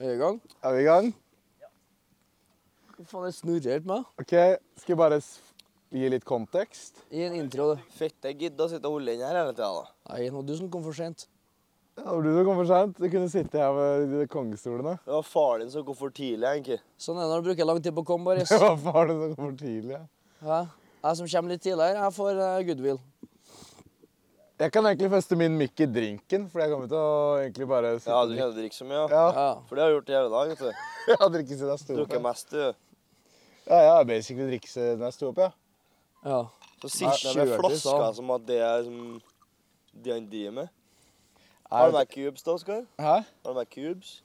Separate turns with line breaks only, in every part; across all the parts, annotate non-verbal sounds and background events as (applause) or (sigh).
Er vi i gang?
Er vi i gang?
Hva faen er snurrer helt meg?
Ok, skal jeg bare s- gi litt kontekst?
Gi en intro, du.
Fette gidda sitte og holde inn her hele tida, da.
Nei, nå er du som kom for sent.
Ja, det var du som kom for seint. Du kunne sitte her ved de kongestolene. (laughs)
Det var faren din som kom for tidlig, egentlig.
Sånn er det når du bruker lang tid på å komme,
(laughs)
Baris.
Det var faren din som kom for tidlig. ja.
Hæ? Jeg som kommer litt tidligere, jeg får eh, goodwill.
Jeg kan egentlig feste min mikk i drinken, for jeg kommer til å egentlig bare
Jeg
sitte
hadde ikke drukket så mye. Ja.
Ja, (laughs)
Ja.
For det har jeg gjort i hele dag, vet du.
jeg har drukket siden jeg sto opp.
Drukket
Ja,
mest, du.
ja, jeg har basically drikket siden jeg sto opp, ja.
ja.
Så
Nei,
sitter jeg med
kjørte, sa
flaska
han.
som at det er som de han driver med. Har du med cubes, da, Oskar?
Hæ?
Har du med cubes?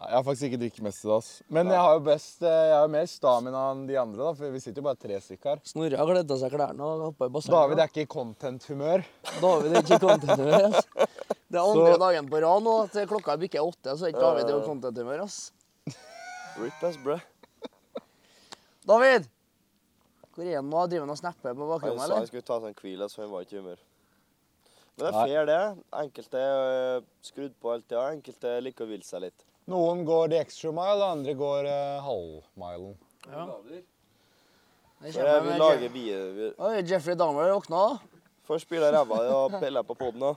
Nei, Jeg har faktisk ikke drukket mest i dag. ass. Men
Nei.
jeg har jo best, eh, jeg har jo mer stamina enn de andre, da, for vi sitter jo bare tre stykker her.
Snorre har gledet seg i klærne og hoppa i bassenget.
David er ikke i content-humør.
David er ikke i content-humør.
(laughs)
ass. Det er andre
Så- Eh.
dagen på rad nå at klokka bikker åtte, så er ikke David i content-humør, ass.
Rip ass, brø.
David! Hvor er han nå? Driver han og snapper på
Han
bakrommet,
sa han
eller?
skulle ta sånn seg en hvile, så han var ikke i humør. Men det
Nei.
er fair, det. Enkelte er skrudd på hele tida. Enkelte liker å hvile seg litt.
Noen går de extra mile, og andre går eh, halvmilen.
Ja. Det
Eh,
For jeg
kommer
vil
med
lage
Jeff-
video.
Oi, Jeffrey Dahmer våkna.
Først spiller jeg ræva i og peller på poden. da.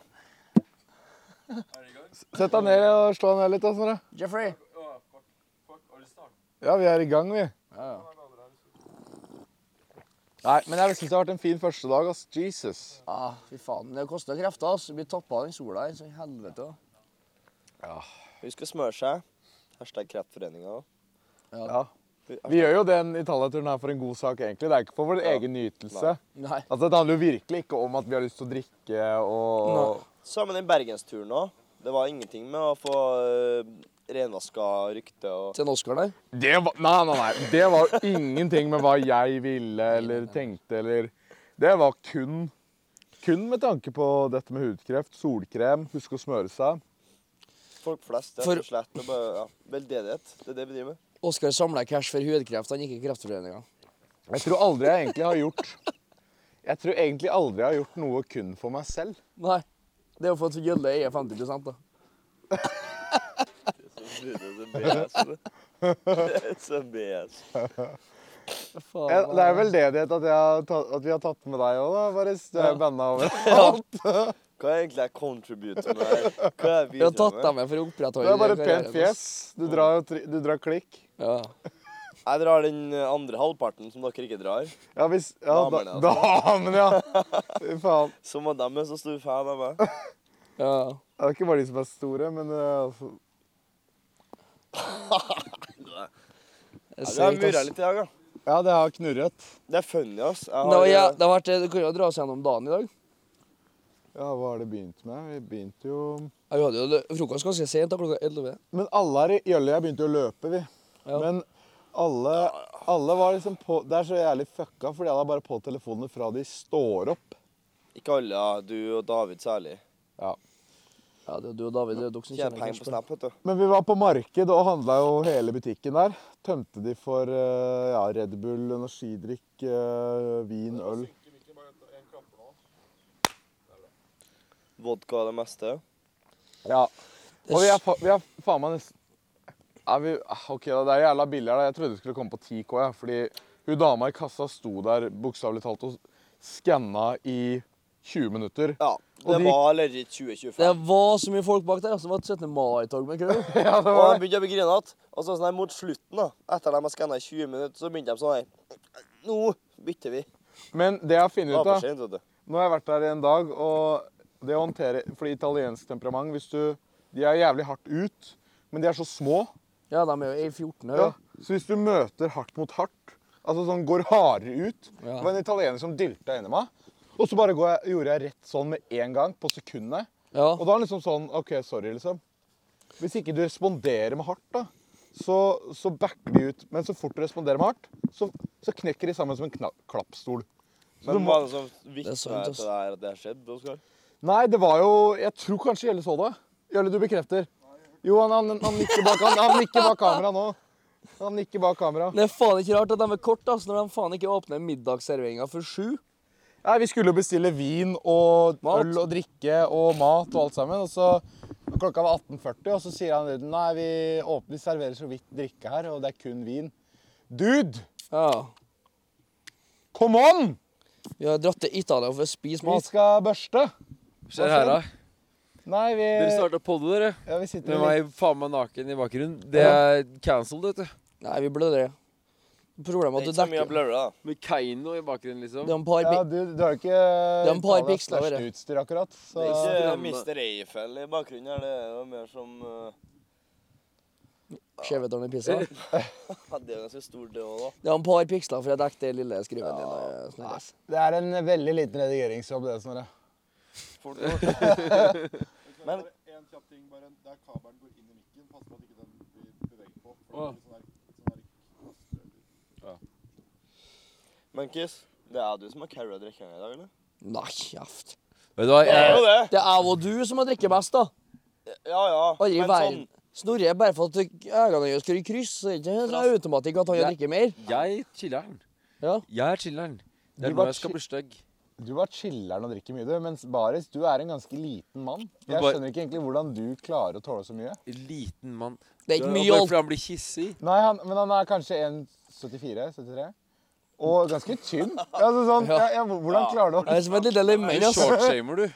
Sett deg ned og slå deg ned litt, da, Snorre.
Jeffrey.
Ja, vi er i gang, vi.
Ja, ja.
Nei, men jeg syns det har vært en fin første dag, ass. Jesus.
Ah, fy faen. Det koster krefter. altså. Du blir tappa av den sola her, så i helvete. da.
Husk å smøre seg. Hashtag Kreftforeninga.
Ja. Vi gjør jo den Italia-turen her for en god sak, egentlig. Det er ikke for vår
Ja.
egen nytelse.
Nei.
Altså, Det handler jo virkelig ikke om at vi har lyst til å drikke og
Sammen med den bergensturen òg. Det var ingenting med å få uh, renvaska rykte og
Til en Oscar der.
det var, Nei, nei, nei. Det var jo ingenting med hva jeg ville eller tenkte eller Det var kun kun med tanke på dette med hudkreft, solkrem, huske å smøre seg.
folk flest. Rett
For-
og slett. Det er bare, ja, veldedighet. Det er det vi driver med.
Oscar samler cash for hudkreft, han gikk i Kreftforeninga.
Jeg tror aldri jeg egentlig har gjort Jeg tror egentlig aldri jeg har gjort noe kun for meg selv.
Nei. Det er jo for at Gjølle eier 50 da.
(laughs) Så BS.
Faen,
Jeg, det er
nei.
veldedighet at, jeg har tatt, at vi har tatt med deg òg, da. Bare støv
Ja.
banna over.
Hva er egentlig jeg contributer med her? Hva er jeg
Vi har tatt
bidrar med?
dem med for å opprettholde
Det er bare et
karrieren,
pent fjes. Du drar, jo tri- du drar klikk.
ass.
Jeg drar den eh, andre halvparten som dere ikke drar.
Ja, hvis ja, da,
Damene,
Damene, altså. ja! Fy faen.
Som at de er så stor fan av meg.
Ja. ja.
Det er ikke bare de som er store, men eh, altså
Jeg
Jeg
ser
har
ikke, ass.
murra litt i dag, da.
Ja, det har knurret.
Det er funny, ass. Jeg
Nå,
har,
ja,
eh,
det har vært, Du kan jo dra oss gjennom dagen i dag.
Ja, hva har det begynt med? Vi begynte jo
Ja, vi hadde jo frokost ganske sent, da klokka 11.
Men alle her i Jølle og jeg begynte jo å løpe, vi.
Ja.
Men alle, alle var liksom på Det er så jævlig fucka, fordi alle er bare på telefonene fra de står opp.
eh, Ikke alle, ja. Du og David særlig.
Ja, det er du og David. Det er dere som
Tjener penger på
kjenner
Snap, vet du.
Men vi var på marked og handla jo hele butikken der. Tømte de for eh, ja, Red Bull, energidrikk, eh, vin, øl.
Vodka og det meste.
Ja. Og vi er, fa- vi er faen meg nesten er vi, ah, OK, da, det er jævla billig her. da. Jeg trodde det skulle komme på 10K, ja, fordi hun dama i kassa sto der bokstavelig talt og skanna i 20 minutter.
Ja.
Og
Det
de-
var allerede 2025.
Det var så mye folk bak der. Altså, det var et 17. mai-tog med kø.
Ja, det
Og
var
de begynte å bli grinete. Og så sånn her mot slutten, da, etter de har skanna i 20 minutter, så begynte de sånn her Nå bytter vi.
Men det jeg har
Det
funnet
var
ut
for
av
sent, vet du.
Nå har jeg vært der i en dag, og det å håndtere Fordi italiensk temperament hvis du, De er jævlig hardt ut, men de er så små.
Ja, de er jo i 14 her.
Ja.
Ja.
Så hvis du møter hardt mot hardt, altså sånn går hardere ut
Ja.
Det var en italiener som dylta inni meg. Og så bare går jeg, gjorde jeg rett sånn med en gang, på sekundet.
Ja.
Og da er han liksom sånn OK, sorry, liksom. Hvis ikke du responderer med hardt, da, så, så backer de ut. Men så fort du responderer med hardt, så, så knekker de sammen som en kna- klappstol. Så du
Men
må-
var det som
Det
vitna
er sant, ass.
til det her at det her skjedde, Oskar?
Nei, det var jo Jeg tror kanskje Gjelle så det. Gjelle, du bekrefter. Jo, han, han, han, nikker bak, han, han nikker bak kamera nå. Han nikker bak kamera.
Det er faen ikke rart at de er kort, altså, når de faen ikke åpner middagsserveringa for sju.
Nei, Vi skulle jo bestille vin og
Mat.
øl og drikke og mat og alt sammen. Og så klokka var 18.40, og så sier han duden nei, vi åpner, serverer så vidt drikke her, og det er kun vin. Dude,
Ja.
come on!
Vi har dratt til Italia for å spise
Vi
mat.
skal børste.
Skjer her, da?
Nei, vi,
Dere starta podde, dere.
ja, vi sitter
Med
litt-
meg faen meg naken i bakgrunnen. Det er cancelled, vet du.
Nei, vi blødder. Problemet
Det
er
er
at du
ikke så mye å
dekker
blurre, da.
Med Keiino i bakgrunnen, liksom.
Det er en par
Ja,
pi-
du, du har jo ikke
er en par
Italias
piksler,
største
bare.
utstyr akkurat. Så
Det
Ikke-
er ikke
Drømme.
Mr. Eiffel i bakgrunnen her, det er jo mer som eh,
skjevhetene i pizza.
ja, Det er jo ganske stor det òg, da.
Det er en par piksler for å dekke det lille skriven din. eh, Snorre.
det er en veldig liten redigeringsjobb, det, Snorre.
Folk går. Men
Bare en kjapp ting, bare der kabelen går inn i mikken, pass på at ikke den blir beveget på.
Å.
For det blir sånn der, sånn der knastrøder.
Men Kiss, det er du som har carried drikkene i dag, eller?
Nei, kjeft.
Vet du hva,
Det er jo
jeg,
det.
Det er jeg og du som må drikke mest, da.
Ja, ja.
Aldri i
Men
verden.
sånn,
Snorre er bare for at øynene hans skal i kryss, så det er ikke sånn automatikk at han kan
Nei.
drikke mer.
jeg chiller'n.
Ja.
Jeg er chiller'n. Det
Du
er
bare
nå jeg skal bli stygg.
Du bare chiller'n og drikker mye, du. Mens Baris, du er en ganske liten mann. Jeg
bare-
skjønner ikke egentlig hvordan du klarer å tåle så mye.
Liten mann.
Det er ikke
Og
mye
bare
alt.
fordi han blir hissig.
Nei, han, men han er kanskje 1,74-73. Og ganske tynn. Altså sånn, ja, ja, hvordan klarer du
Det
å
er som et lite lemen,
Du
altså.
shortshamer, du.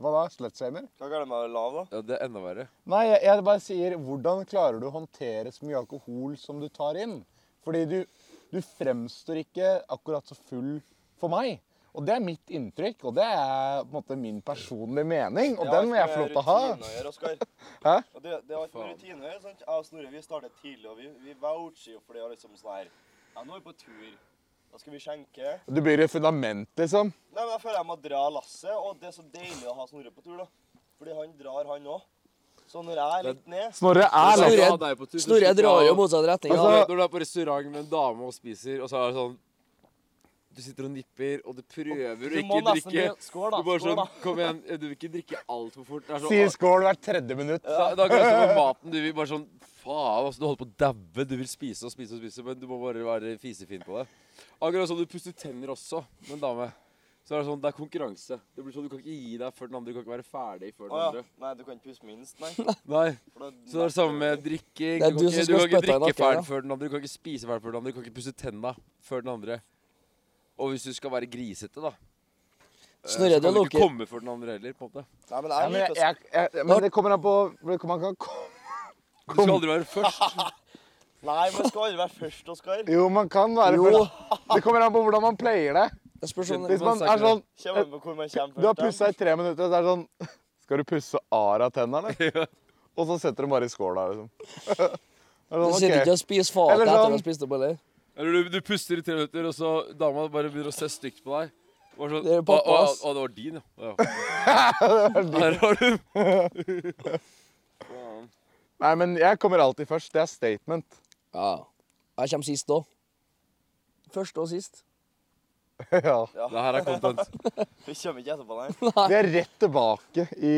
Hva da? Slutshamer?
Hva kaller du meg lav, da?
Ja, det er enda verre.
Nei, jeg, jeg bare sier hvordan klarer du å håndtere så mye alkohol som du tar inn? Fordi du, du fremstår ikke akkurat så full for meg. Og det er mitt inntrykk, og det er på en måte min personlige mening. Og
Det har
den må jeg få
ikke
lov
med
til å ha.
rutine å gjøre, Oskar.
(laughs) Hæ?
Og det, det har ikke med rutine å gjøre. sant? Jeg og Snorre vi starter tidlig, og vi, vi voucher jo for det. og liksom sånn her. Ja, nå er vi på tur. Da skal vi skjenke.
Du blir et fundament, liksom.
Nei, men Jeg føler jeg må dra lasset, og det er så deilig å ha Snorre på tur. da. Fordi han drar, han òg. Så når jeg er litt ned
Snorre er
Snorre-
lang.
Jeg skal ha deg på tur, så
Snorre
slipper
drar
jeg
jo
å-
motsatt retning.
Du
da.
vet Altså- Når du er på restaurant med en dame og spiser, og så er det sånn Du sitter og nipper, og du prøver å
Du må
ikke
nesten
drikke.
bli- Skål, da.
Du bare
skål,
sånn
da.
Kom igjen, du vil ikke drikke altfor fort. Det er sånn,
Sier skål hvert tredje minutt.
Da, da går det på maten. Du vil bare sånn Faen, altså. Du holder på å daue. Du vil spise og spise og spise, men du må bare være fisefin på det. Akkurat som du puster tenner også med en dame. Så er det sånn, det er konkurranse. Det blir sånn, Du kan ikke gi deg før den andre. Du kan ikke være ferdig før
Å
den
ja.
andre.
Nei, du kan ikke puste minst,
(laughs)
nei.
Nei,
For da-
Så det er det samme med drikking.
Det er
Du
du som
kan ikke, du
skal
kan
spytte deg i
ikke drikke
nakken,
ferdig
da.
før den andre. Du kan ikke spise ferdig før den andre. Du kan ikke pusse tenna før den andre. Og hvis du skal være grisete, da, eh,
Snorre, det
så kan du ikke
lukker.
komme før den andre heller. på en måte.
Nei, men
Ja, men,
jeg
jeg,
liker å
jeg, jeg, men det kommer an på det kommer an på-
Du skal aldri være først.
Nei, men skal aldri være først, Oskar.
Jo, man kan være
Jo.
først. Det kommer an på hvordan man player det.
Jeg spør sånn
Hvis man
Man sa
er
ikke
sånn
Kommer an på hvor man kommer først.
(laughs) Du har
da.
pussa i tre minutter, og så er det sånn Skal du pusse ar av tennene?
(laughs)
Og så setter du bare i skåla, liksom. (laughs) Det er
Du sitter
sånn,
ikke
ok.
og spiser fatet
Eller
etter at du
sånn-
har spist opp, eller?
Eller du, du puster i tre minutter, og så dama bare begynner å se stygt på deg. Bare sånn,
Det er pappa,
«Å, å,
ass.»
å, det var din, ja. Å, ja.
(laughs)
Her har du Faen.
Nei, men jeg kommer alltid først. Det er statement. (laughs)
Ja. Jeg kommer sist òg. Først og sist.
Ja.
Det her er content.
Vi kommer ikke etterpå, nei.
Vi er rett tilbake i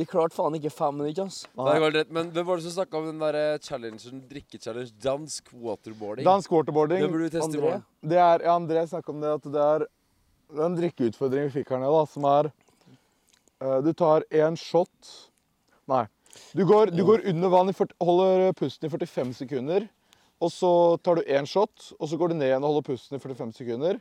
Vi klarte faen ikke fem minutter, ass.
Det er helt rett. Men hvem var det som snakka om den der eh, challengen, drikke-challenge, dansk waterboarding?
dansk
Det
waterboarding.
burde du teste i morgen.
Det er, ja, André snakka om det, at det er det er en drikkeutfordring vi fikk her nede, da, som er eh, Du tar én shot Nei. Du går, du går under vann, i 40, holder pusten i 45 sekunder. Og så tar du én shot, og så går du ned igjen og holder pusten i 45 sekunder.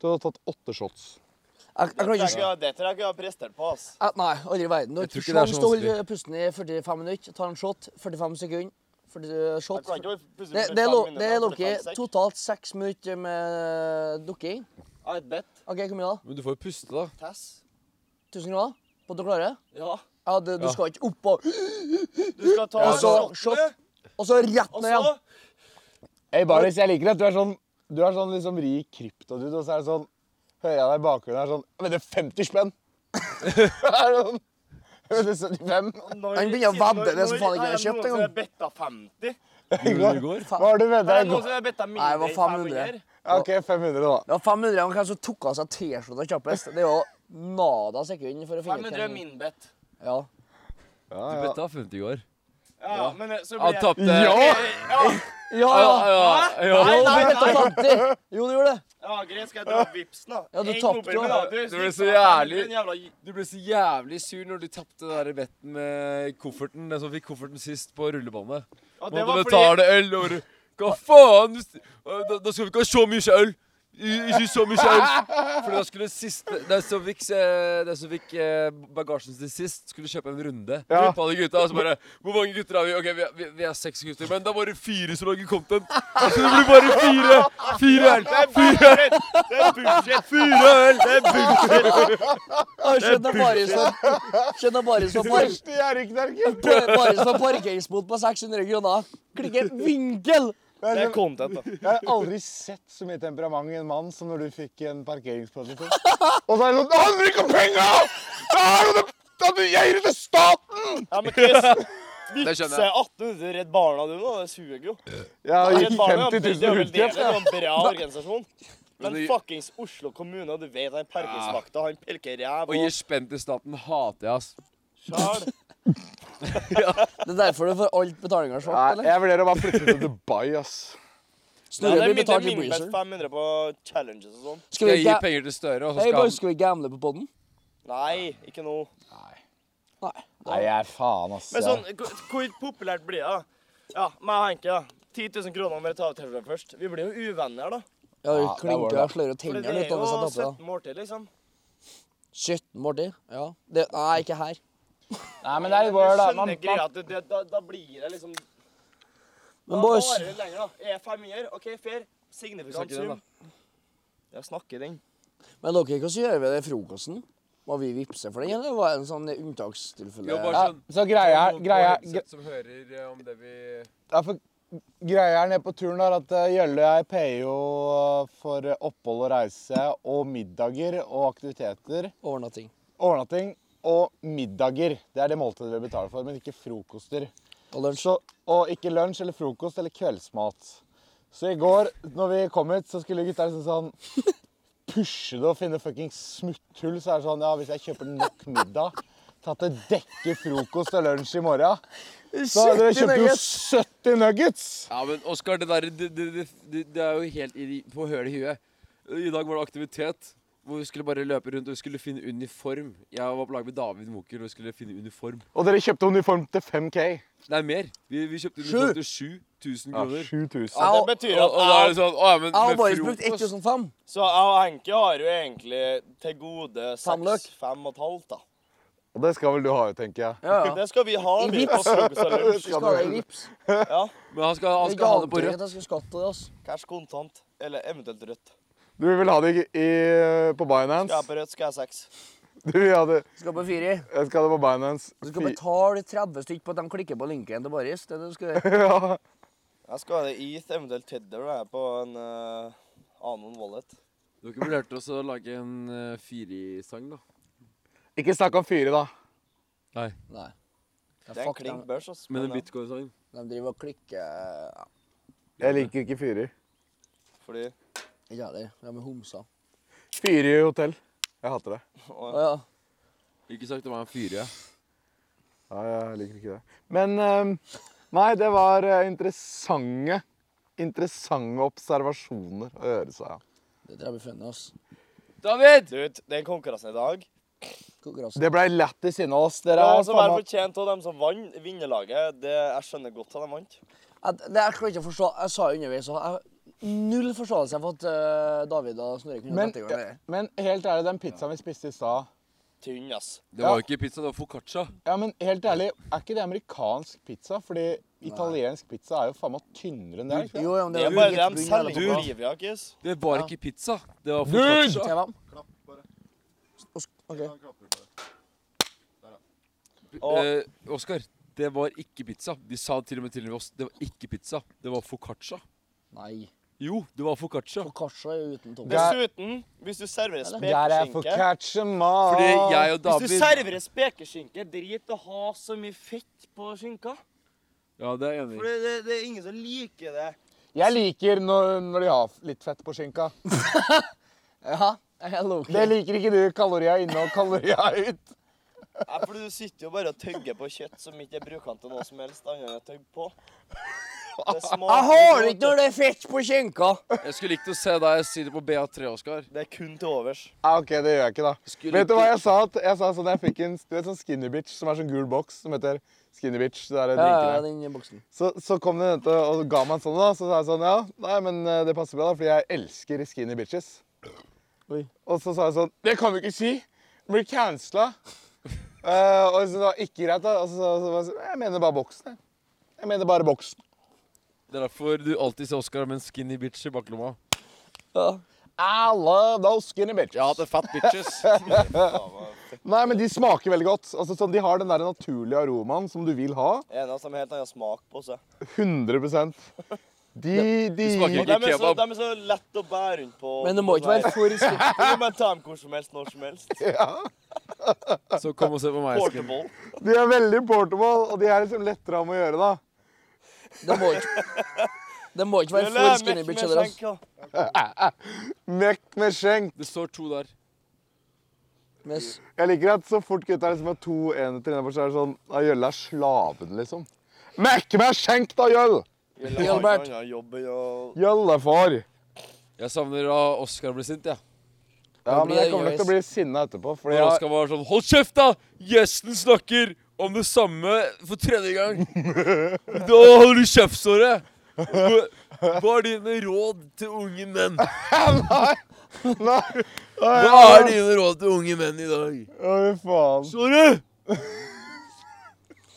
Du har tatt åtte shots.
Jeg, jeg
Det
kan
tror jeg
ikke
ikke jeg- det tror jeg ikke jeg har prestert på, ass.
Eh, Nei, aldri i verden. Du har
Jeg tror
ikke
ikke det er
sjans
så
til å holde pusten i 45 minutter. Tar en shot, 45 sekunder. 40
Jeg
shot.
kan ikke bare puste
Det,
med
det er
fem
lo- det er
minutter, da, for det er fem
lukket
sekk.
totalt seks minutter med dukking.
Jeg har et bett.
OK, hvor mye da?
Men du får jo puste,
(laughs)
da.
Tess.
1000 kroner på at du klarer det?
Ja.
Ja, det, du skal ikke opp og
Du skal ta altså.
Og så
shottene,
shot. Og så rett
Og
ned
så
igjen.
Hey, Baris, jeg liker at du er sånn Du er sånn liksom rik kryptodude, og så er det sånn Hører jeg deg i bakgrunnen er sånn Men det er 50 spenn! (laughs) Det er sånn, «Er det 75.
Når-
Han begynner å
siden-
vedde det som
når-
faen ikke jeg
er det
kjøpte
noen som
engang.
er betta 50?
Gjorde du det i går?
Hva har du med
Er det
deg? i
noen
går?
som er betta mindre
Nei, det var
enn
500.
500?
OK, 500, da.
Det var 500 av hvem som tok av seg T-skjorta kjappest. Det er jo nada sekund for å finne
500 er min bett.
Ja.
Ja,
Du
ja.
betta 50 i går.
Ja, men så blir
Han
jeg
tapte.
Ja!
Ja,
Ja,
ja.
ja, ja.
Nei, nei, nei. Jo, du gjorde det.
Ja, Ja, greit, skal jeg dra vipsen, da?
Ja, du
En
tapte
dobbel
jo.
med,
Det ble så
faen,
jævlig.
en jævla gi-
Du ble så jævlig sur når du tapte den der betten med kofferten. Den som fikk kofferten sist på rullebanet.
Ja,
Må
det
du
var fordi
betale øl, og du Hva faen? Du, da, da skal vi ikke ha så mye øl! I- Ikke så mye øl! For da skulle siste Den som fikk, eh, den som fikk eh, bagasjen til sist, skulle kjøpe en runde.
Ja.
Gruppa av de gutta, og så bare Hvor mange gutter er vi? Ok, vi er, vi, vi er seks gutter, men det er bare fire som lager content. Så det blir bare fire! Fire øl! Fire øl!
Det er bullshit!
Fire øl!
Det er bullshit!
Jeg Skjønner bare som Skjønner bare som par-
Første gjerriknerken!
bare som parkeringsbot på 600 kroner. Klikke vinkel!
Jeg
Det
har
er content, da.
liksom- jeg har aldri sett så mye temperament i en mann som når du fikk en parkeringsplass. Og så er det sånn Det handler ikke om penga! Det er jo det at du gir det til staten!
Ja, men Chris,
(laughs) Det skjønner
vipse
jeg.
1800 Redd Barna du nå, det suger jo.
Jeg
Redd
gikk
Barna
50
det er
000
vel
ut
det,
igjen.
det er jo
(laughs)
en bra organisasjon. Men
det-
fuckings Oslo kommune, og du vet han parkeringsvakta, han pilker ræv
Å
og
gi spenn til staten hater jeg, ass.
(laughs) sjæl.
Det er derfor du får alt betalinga
Nei,
svart, eller?
jeg vurderer å bare flytte til Dubai, ass.
Ja, det
Snorre
er
blir
min- det er
betalt i
min best
Breezer.
500 på challenges og sånn.
Skal
Skal
vi
jeg gi
ga-
penger til Støre, og så
Hei,
skal
boys,
han
skal vi gamble på podden?
Nei, ikke nå.
Nei.
Nei, jeg er faen, ass.
Men sånn, hvor hvor populært blir det? da? Ja, meg og Henke, da. 10 000 kroner om dere tar T-skjorta først. Vi blir jo uvenner, da.
Ja,
Ja,
vi
det var
klinker
det.
og slører
For
tennene
det er
litt. da, hvis
jo
jeg taper,
17 mål til, liksom.
da. 17 måltid? Ja. Det, nei, ikke her.
Nei, men det er
Du
litt word, da. Man,
skjønner greia at det- det- da, da blir det liksom
Men
da
boys,
varer det lenger, da. Er 500, OK, fair. Signifikant
Snakker den, da.
sum. Jeg snakker den.
men dere, hva gjør vi med den frokosten? Må vi vippse for den, eller var det en sånn
Jo,
unntakstilfelle?
bare
ja, så greia er greia,
Noen på
gre-
headset Som hører eh, om det vi
Ja, for greia her nede på turen er at eh, Gjølle og jeg payer jo eh, for eh, opphold og reise og middager og aktiviteter.
Overnatting.
Overnatting og middager. Det er det måltidet vi betaler for, men ikke frokoster.
Og lunsj.
Så, og ikke lunsj eller frokost eller kveldsmat. Så i går, når vi kom hit, så skulle gutta liksom sånn pushe det og finne fuckings smutthull. Så er det sånn, ja, hvis jeg kjøper nok middag til at det dekker frokost og lunsj i morgen, så dere
70
kjøpte jo
nuggets.
70 nuggets!
Ja, men Oskar, det der det, det, det, det, det er jo helt i, på hølet i huet. I dag var det aktivitet hvor vi skulle bare løpe rundt og vi skulle finne uniform. Jeg var på lag med David Moker og vi skulle finne uniform.
Og dere kjøpte uniform til 5K.
Nei, mer. Vi, vi kjøpte uniform til 7000
Ja,
kroner.
Ja,
7000.
og-
Men det betyr
Og, og da er
at
det
jeg,
sånn Å ja, men
Jeg har
med
bare brukt
frokost
1005.
så jeg og Henke har jo egentlig til gode
Fem løk.
seks, fem og et halvt, da.
Og det skal vel du ha, tenker jeg.
Ja, ja.
Det skal vi ha,
I
vi,
vips.
på frokost og lunsj.
(laughs) Skal ha det i vips.
Ja.
Men han skal, han
Jeg
skal ha det på
antar
rødt.
at jeg skal skatte det, ass.
Cash kontant, eller eventuelt rødt.
Du vil ha det i, i- på
Skal jeg
Binance?
på rødt, skal jeg ha seks.
Du vil ha det,
Skal på fire. i.
jeg skal ha det på Binance.
Du skal betale 30 stykk på at de klikker på linken til Boris. Det er det du skal gjøre.
Ja.
Jeg skal ha det i ETH, eventuelt Tether, da, jeg, på en eh, annen wallet.
Dere burde hørt oss å lage en eh, Firi-sang, da.
Ikke snakk om fyre, da.
Nei. Ja,
Det er en
fuck,
klink
de,
børs, ass.
Med
men,
en
eh, ja,
bitcoin-sang.
de driver og klikker ja,
Jeg liker ikke fyrer.
Fordi
Ikke heller. De er homser.
Fyre i hotell. Jeg hater det.
Å ja.
Ikke sagt om han er fyre.
Ja, jeg liker ikke det. Men ehm, Nei, det var eh, interessante Interessante observasjoner å gjøre seg av.
Det tror jeg blir funnet, ass.
David!
Du, den konkurransen i dag
Konkurranse.
Det blei lættis inne hos dere.
Det
er
var som er
faen meg-
fortjent av dem som vant vinnerlaget. Det, jeg skjønner godt at de vant.
Jeg, det, jeg klarer ikke å forstå. Jeg sa jo underveis og jeg Null forståelse for at eh, David og Snorre kunne
men, eh,
tatt i gang det.
men helt ærlig, den pizzaen vi spiste i stad
Tynn, ass.
Det var jo ikke pizza, det var foccaccia.
Ja, men helt ærlig, er ikke det amerikansk pizza? Fordi italiensk pizza er jo faen meg tynnere enn det. er ikke det?
Jo, ja, men
Det
det
er bare
litt
det de
bunn eller
selger på
noe.
Olivia, Kiss.
Det var ikke pizza. Det var
Til
foccaccia.
hvem?
Klapp, bare.
Og sk- ok.
Ta en klapper på det.
Og
Eh, Oskar, det var ikke pizza. De sa til og med til oss det var ikke pizza. Det var foccaccia.
Nei.
Jo, det var foccaccia.
Foccaccia er jo uten tomat.
Der-
dessuten, hvis du serverer
Der er for
spekeskinke
catch a man.
Fordi jeg og
Hvis du
David
serverer spekeskinke, drit å ha så mye fett på skinka.
Ja, det er jeg enig
For
i.
det, det, det er ingen som liker det.
Jeg liker når, når de har litt fett på skinka.
Ja, jeg lover.
Det liker ikke du. Kalorier er inne og kalorier er ut.
Nei, for du sitter jo bare og tygger på kjøtt som ikke er brukende til noe som helst annet enn å tygge på. Det
Jeg
smaker
har det
godt.
ikke når det er fett på skinka.
Jeg skulle likt å se deg si det på BA3, Oskar.
Det er kun til overs.
Ja, OK, det gjør jeg ikke, da.
Skulle
Vet du
ikke-
hva jeg sa? at- Jeg sa sånn, jeg fikk en du vet, sånn skinny bitch som er sånn gul boks som heter skinny bitch. Det er
Ja,
drinkene.
ja, den boksen.
Så, så kom det en jente og ga meg en sånn, da. Så sa jeg sånn, ja, nei, men eh, det passer bra, da, fordi jeg elsker skinny bitches.
Oi.
Og så sa jeg sånn, det kan du ikke si! Du blir cancela. Eh, og så var det ikke greit, da. Og så sa så, var jeg sånn, jeg mener bare boksen, jeg. Jeg mener bare boksen.
Det er derfor du alltid ser Oskar med en skinny bitch i baklomma.
Ja.
I love those skinny bitches.
Ja, det er fat bitches.
Nei, men de smaker veldig godt. Altså, sånn, de har den der naturlige aromaen som du vil ha.
En av dem har helt annen smak på seg.
100 De, de
smaker
gir
ikke-
De er, så,
kebab.
de er så lett å bære rundt på.
Men det må ikke være for skitt.
Du kan bare ta dem hvor som helst, når som helst.
(laughs) Så kom og se på meg. Skinny.
Portable.
De er veldig portable, og de er liksom lettere om å gjøre, da.
Det må ikke Det må ikke være
Eller
for skinny
Mac
bitch
med
heller. ass.
skjenk, ja.
Mekk med skjenk.
Det står to der.
Mens
Jeg liker at så fort gutta liksom har to enheter innenfor, så er det sånn Da Jølle er slaven, liksom. Mekke meg skjenk, da, Jøll!
Eller har
Gilbert.
ikke annen jobb enn å-
Jøllefar.
Jeg savner da Oskar ble sint, jeg. Ja.
Ja, men jeg kommer
Jøll.
nok til å bli sinna etterpå. Fordi
Når
jeg,
Oskar var sånn Hold kjeft, da! Gjesten snakker om det samme for tredje
(laughs)
gang. Da holder du kjeftsåret. Hva er dine råd til unge
(laughs)
menn?
nei,
Hva er dine råd til unge menn i dag?
å, faen.
Sorry!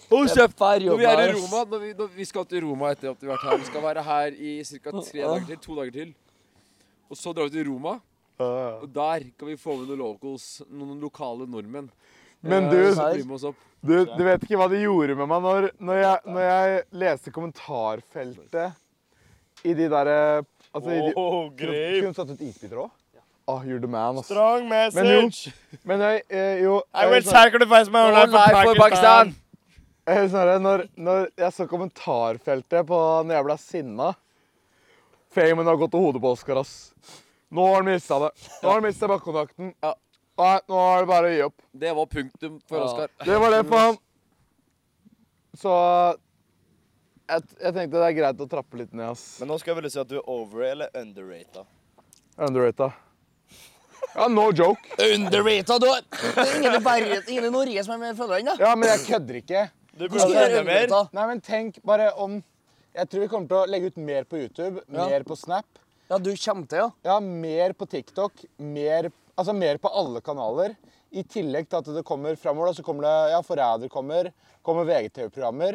Hold
Det er
kjeft!
fair
Når vi er i
jobba, ass.
Roma, når vi, når vi skal til Roma etter at vi har vært her Vi skal være her i ca. tre dager til. To dager til. Og så drar vi til Roma, og der kan vi få med noen locals. Noen lokale nordmenn.
Men
eh,
du,
som blir med oss opp.
du, du vet ikke hva det gjorde med meg når, når, jeg, når jeg leste kommentarfeltet i de derre Altså, i de,
Åh, greit.
kunne du satt ut isbiter òg? Ah, you're the man, ass.
Strong message.
Men jeg, eh, jo
I
jeg-
will sacrifice my life for Pakistan.
Jeg husker Snorre, når, når jeg så kommentarfeltet på når jeg ble sinna Famen har gått til hodet på Oskar, ass. Nå har han mista det. Nå har han mista bakkontakten.
Ja.
Nei, nå er det bare å gi opp.
Det var punktum for
Ja.
Oskar.
Det var det for ham. Så jeg, jeg tenkte det er greit å trappe litt ned, ass.
Men nå skal jeg vel si at du er over- eller underrated.
Underrata. Ja, no joke.
Underrated, du! Det er ingen i, Bergen, ingen i Norge som er mer følgere enn deg.
Ja, men jeg kødder ikke.
Du
Du skal
burde
være
enda mer.
underrated.
Nei, men tenk bare om Jeg tror vi kommer til å legge ut mer på YouTube,
Ja.
mer på Snap.
Ja, du kommer til, ja.
Ja, mer på TikTok, mer, altså mer på alle kanaler. I tillegg til at det kommer framover, da, så kommer det ja, Forræder kommer, kommer VGTV-programmer.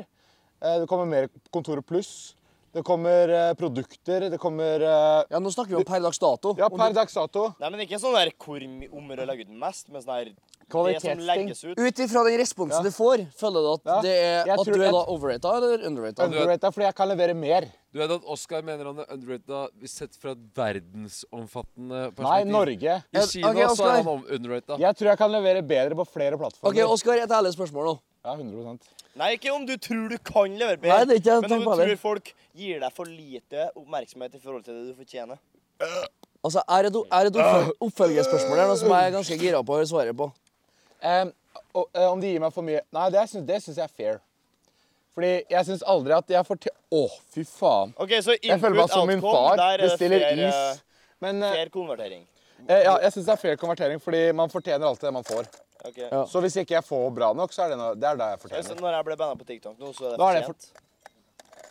eh, Det kommer mer Kontoret Pluss. Det kommer eh, produkter. Det kommer eh,
Ja, Nå snakker vi om per dags dato.
Ja,
Om
per dags dato.
Nei, men ikke sånn der hvor mye om å legge ut mest, men sånn der det som
Kvalitetsting.
legges ut.
du- Ut ifra den responsen
Ja.
du får, føler du at,
Ja.
det er,
Jeg
at
tror
du er
jeg-
da overrated eller underrated?
Underrated, fordi jeg kan levere mer.
Du vet at Oskar mener han er underrated sett fra et verdensomfattende
Nei,
perspektiv?
Norge.
I Kina
Ok,
så
Oskar.
er han om- underrated.
Jeg tror jeg kan levere bedre på flere
OK,
plattformer.
Oskar, et ærlig spørsmål nå.
Ja, 100
Nei, ikke om du tror du kan levere bedre,
Nei, det er ikke jeg
men om
tenker
du
på
tror
heller.
folk gir deg for lite oppmerksomhet i forhold til det du fortjener.
Altså, Er det et- er det et
Ah.
oppføl- oppfølgingsspørsmål her nå som jeg er ganske gira på å svare på?
Em, og, eh, om de gir meg for mye Nei, det syns, det syns jeg er fair. Fordi jeg syns aldri at jeg får til Å, fy faen.
OK, så input,
Jeg føler meg som min
outcome,
far.
der er det
Bestiller
fair, eh,
is. Men eh,
fair konvertering.
eh, ja, jeg syns det er fair konvertering, fordi man fortjener alltid det man får.
Ok.
Ja.
Så hvis ikke jeg får bra nok, så er det noe, det er det jeg
Så
fortjener.
når jeg ble banna på TikTok nå, så er det
Da er det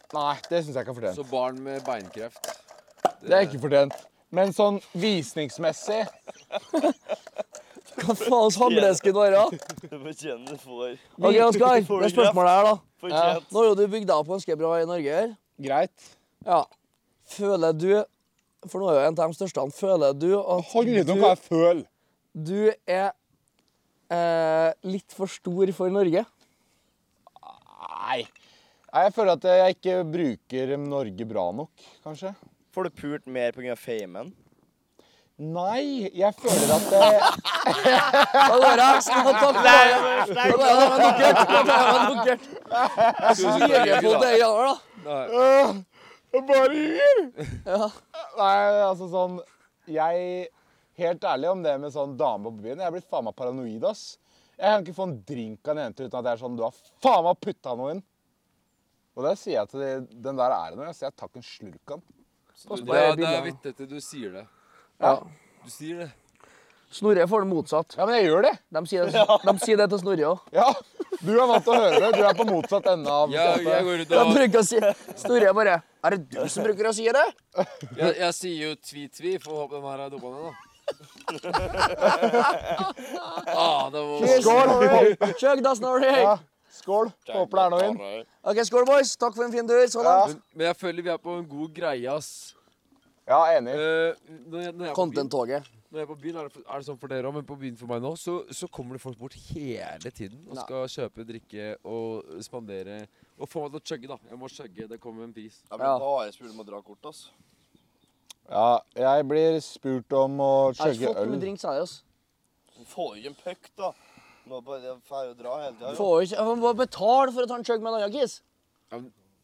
fortjent.
Nei, det syns jeg ikke er
Så
fortjent.
barn med beinkreft.
Det er ikke fortjent. Men sånn visningsmessig
Hva faens hamlesken være?
Du fortjener det for
OK, Oskar,
(laughs)
det
Får du
er spørsmålet her, da.
fortjent.
Nå har jo du bygd deg opp ganske bra i Norge her.
greit.
Ja. Føler du For nå er jo en av de største. han. Føler du at
Hold litt om
du,
hva jeg føler.
du er eh, litt for stor for Norge?
Nei. Nei, Jeg føler at jeg ikke bruker Norge bra nok, kanskje.
Får du pult mer pga. famen?
Nei, jeg føler at eh,
Da går jeg. Skal jeg ta på deg? Da går jeg da med dukkert. Da tar jeg med dukkert.
Tusen takk,
Higer på
Jørgen, da.
det i januar, da.
Jeg bare hyr!
Ja.
Nei, altså sånn Jeg Helt ærlig om det med sånn dame på byen. Jeg er blitt faen meg paranoid, ass. Jeg kan ikke få en drink av en jente uten at det er sånn Du har faen meg putta noe inn. Og der sier jeg til de, den der er det noe. Jeg sier jeg tar ikke en slurk av den.
Pass på de
Det er, det er
bildene.
vittig til du sier det.
Ja.
Du sier det.
Snorre får det motsatt.
Ja, men jeg gjør det!
De sier det, de sier det til Snorre òg.
Ja, Du er vant til å høre det. Du er på motsatt ende av
Jeg, jeg går rundt
De
og
bruker å si Snorre bare Er det du som bruker å si det?
Jeg, jeg sier jo tvi-tvi, for å håpe den her er dumma ned, da. ah, det var
Skål!
Chug da, Snorre!
Ja, skål. Håper det er noe inn.
OK, skål, boys. Takk for en fin tur. Sånn, Så langt.
men, men jeg føler vi er på en god greie, ass.
Ja, enig.
Eh, når, jeg, når, jeg er på byen,
Content-toget.
når jeg er på byen, er det, er det sånn for dere òg, men på byen for meg nå, så, så kommer det folk bort hele tiden og
Nei.
skal kjøpe, drikke og spandere. Og få meg til å chugge, da. Jeg må chugge. Det kommer en pris.
Jeg
Ja.
blir bare spurt om å dra kort, ass.
Ja, jeg blir spurt om å
Jeg har ikke
chugge
fått noe
øl.
med drinks, jeg. Altså.
Du får jo ikke en puck, da. Nå bare, jeg får jo dra hele tida.
Får jo ikke Jeg må bare betale for å ta en chug med en annen kis.
Jeg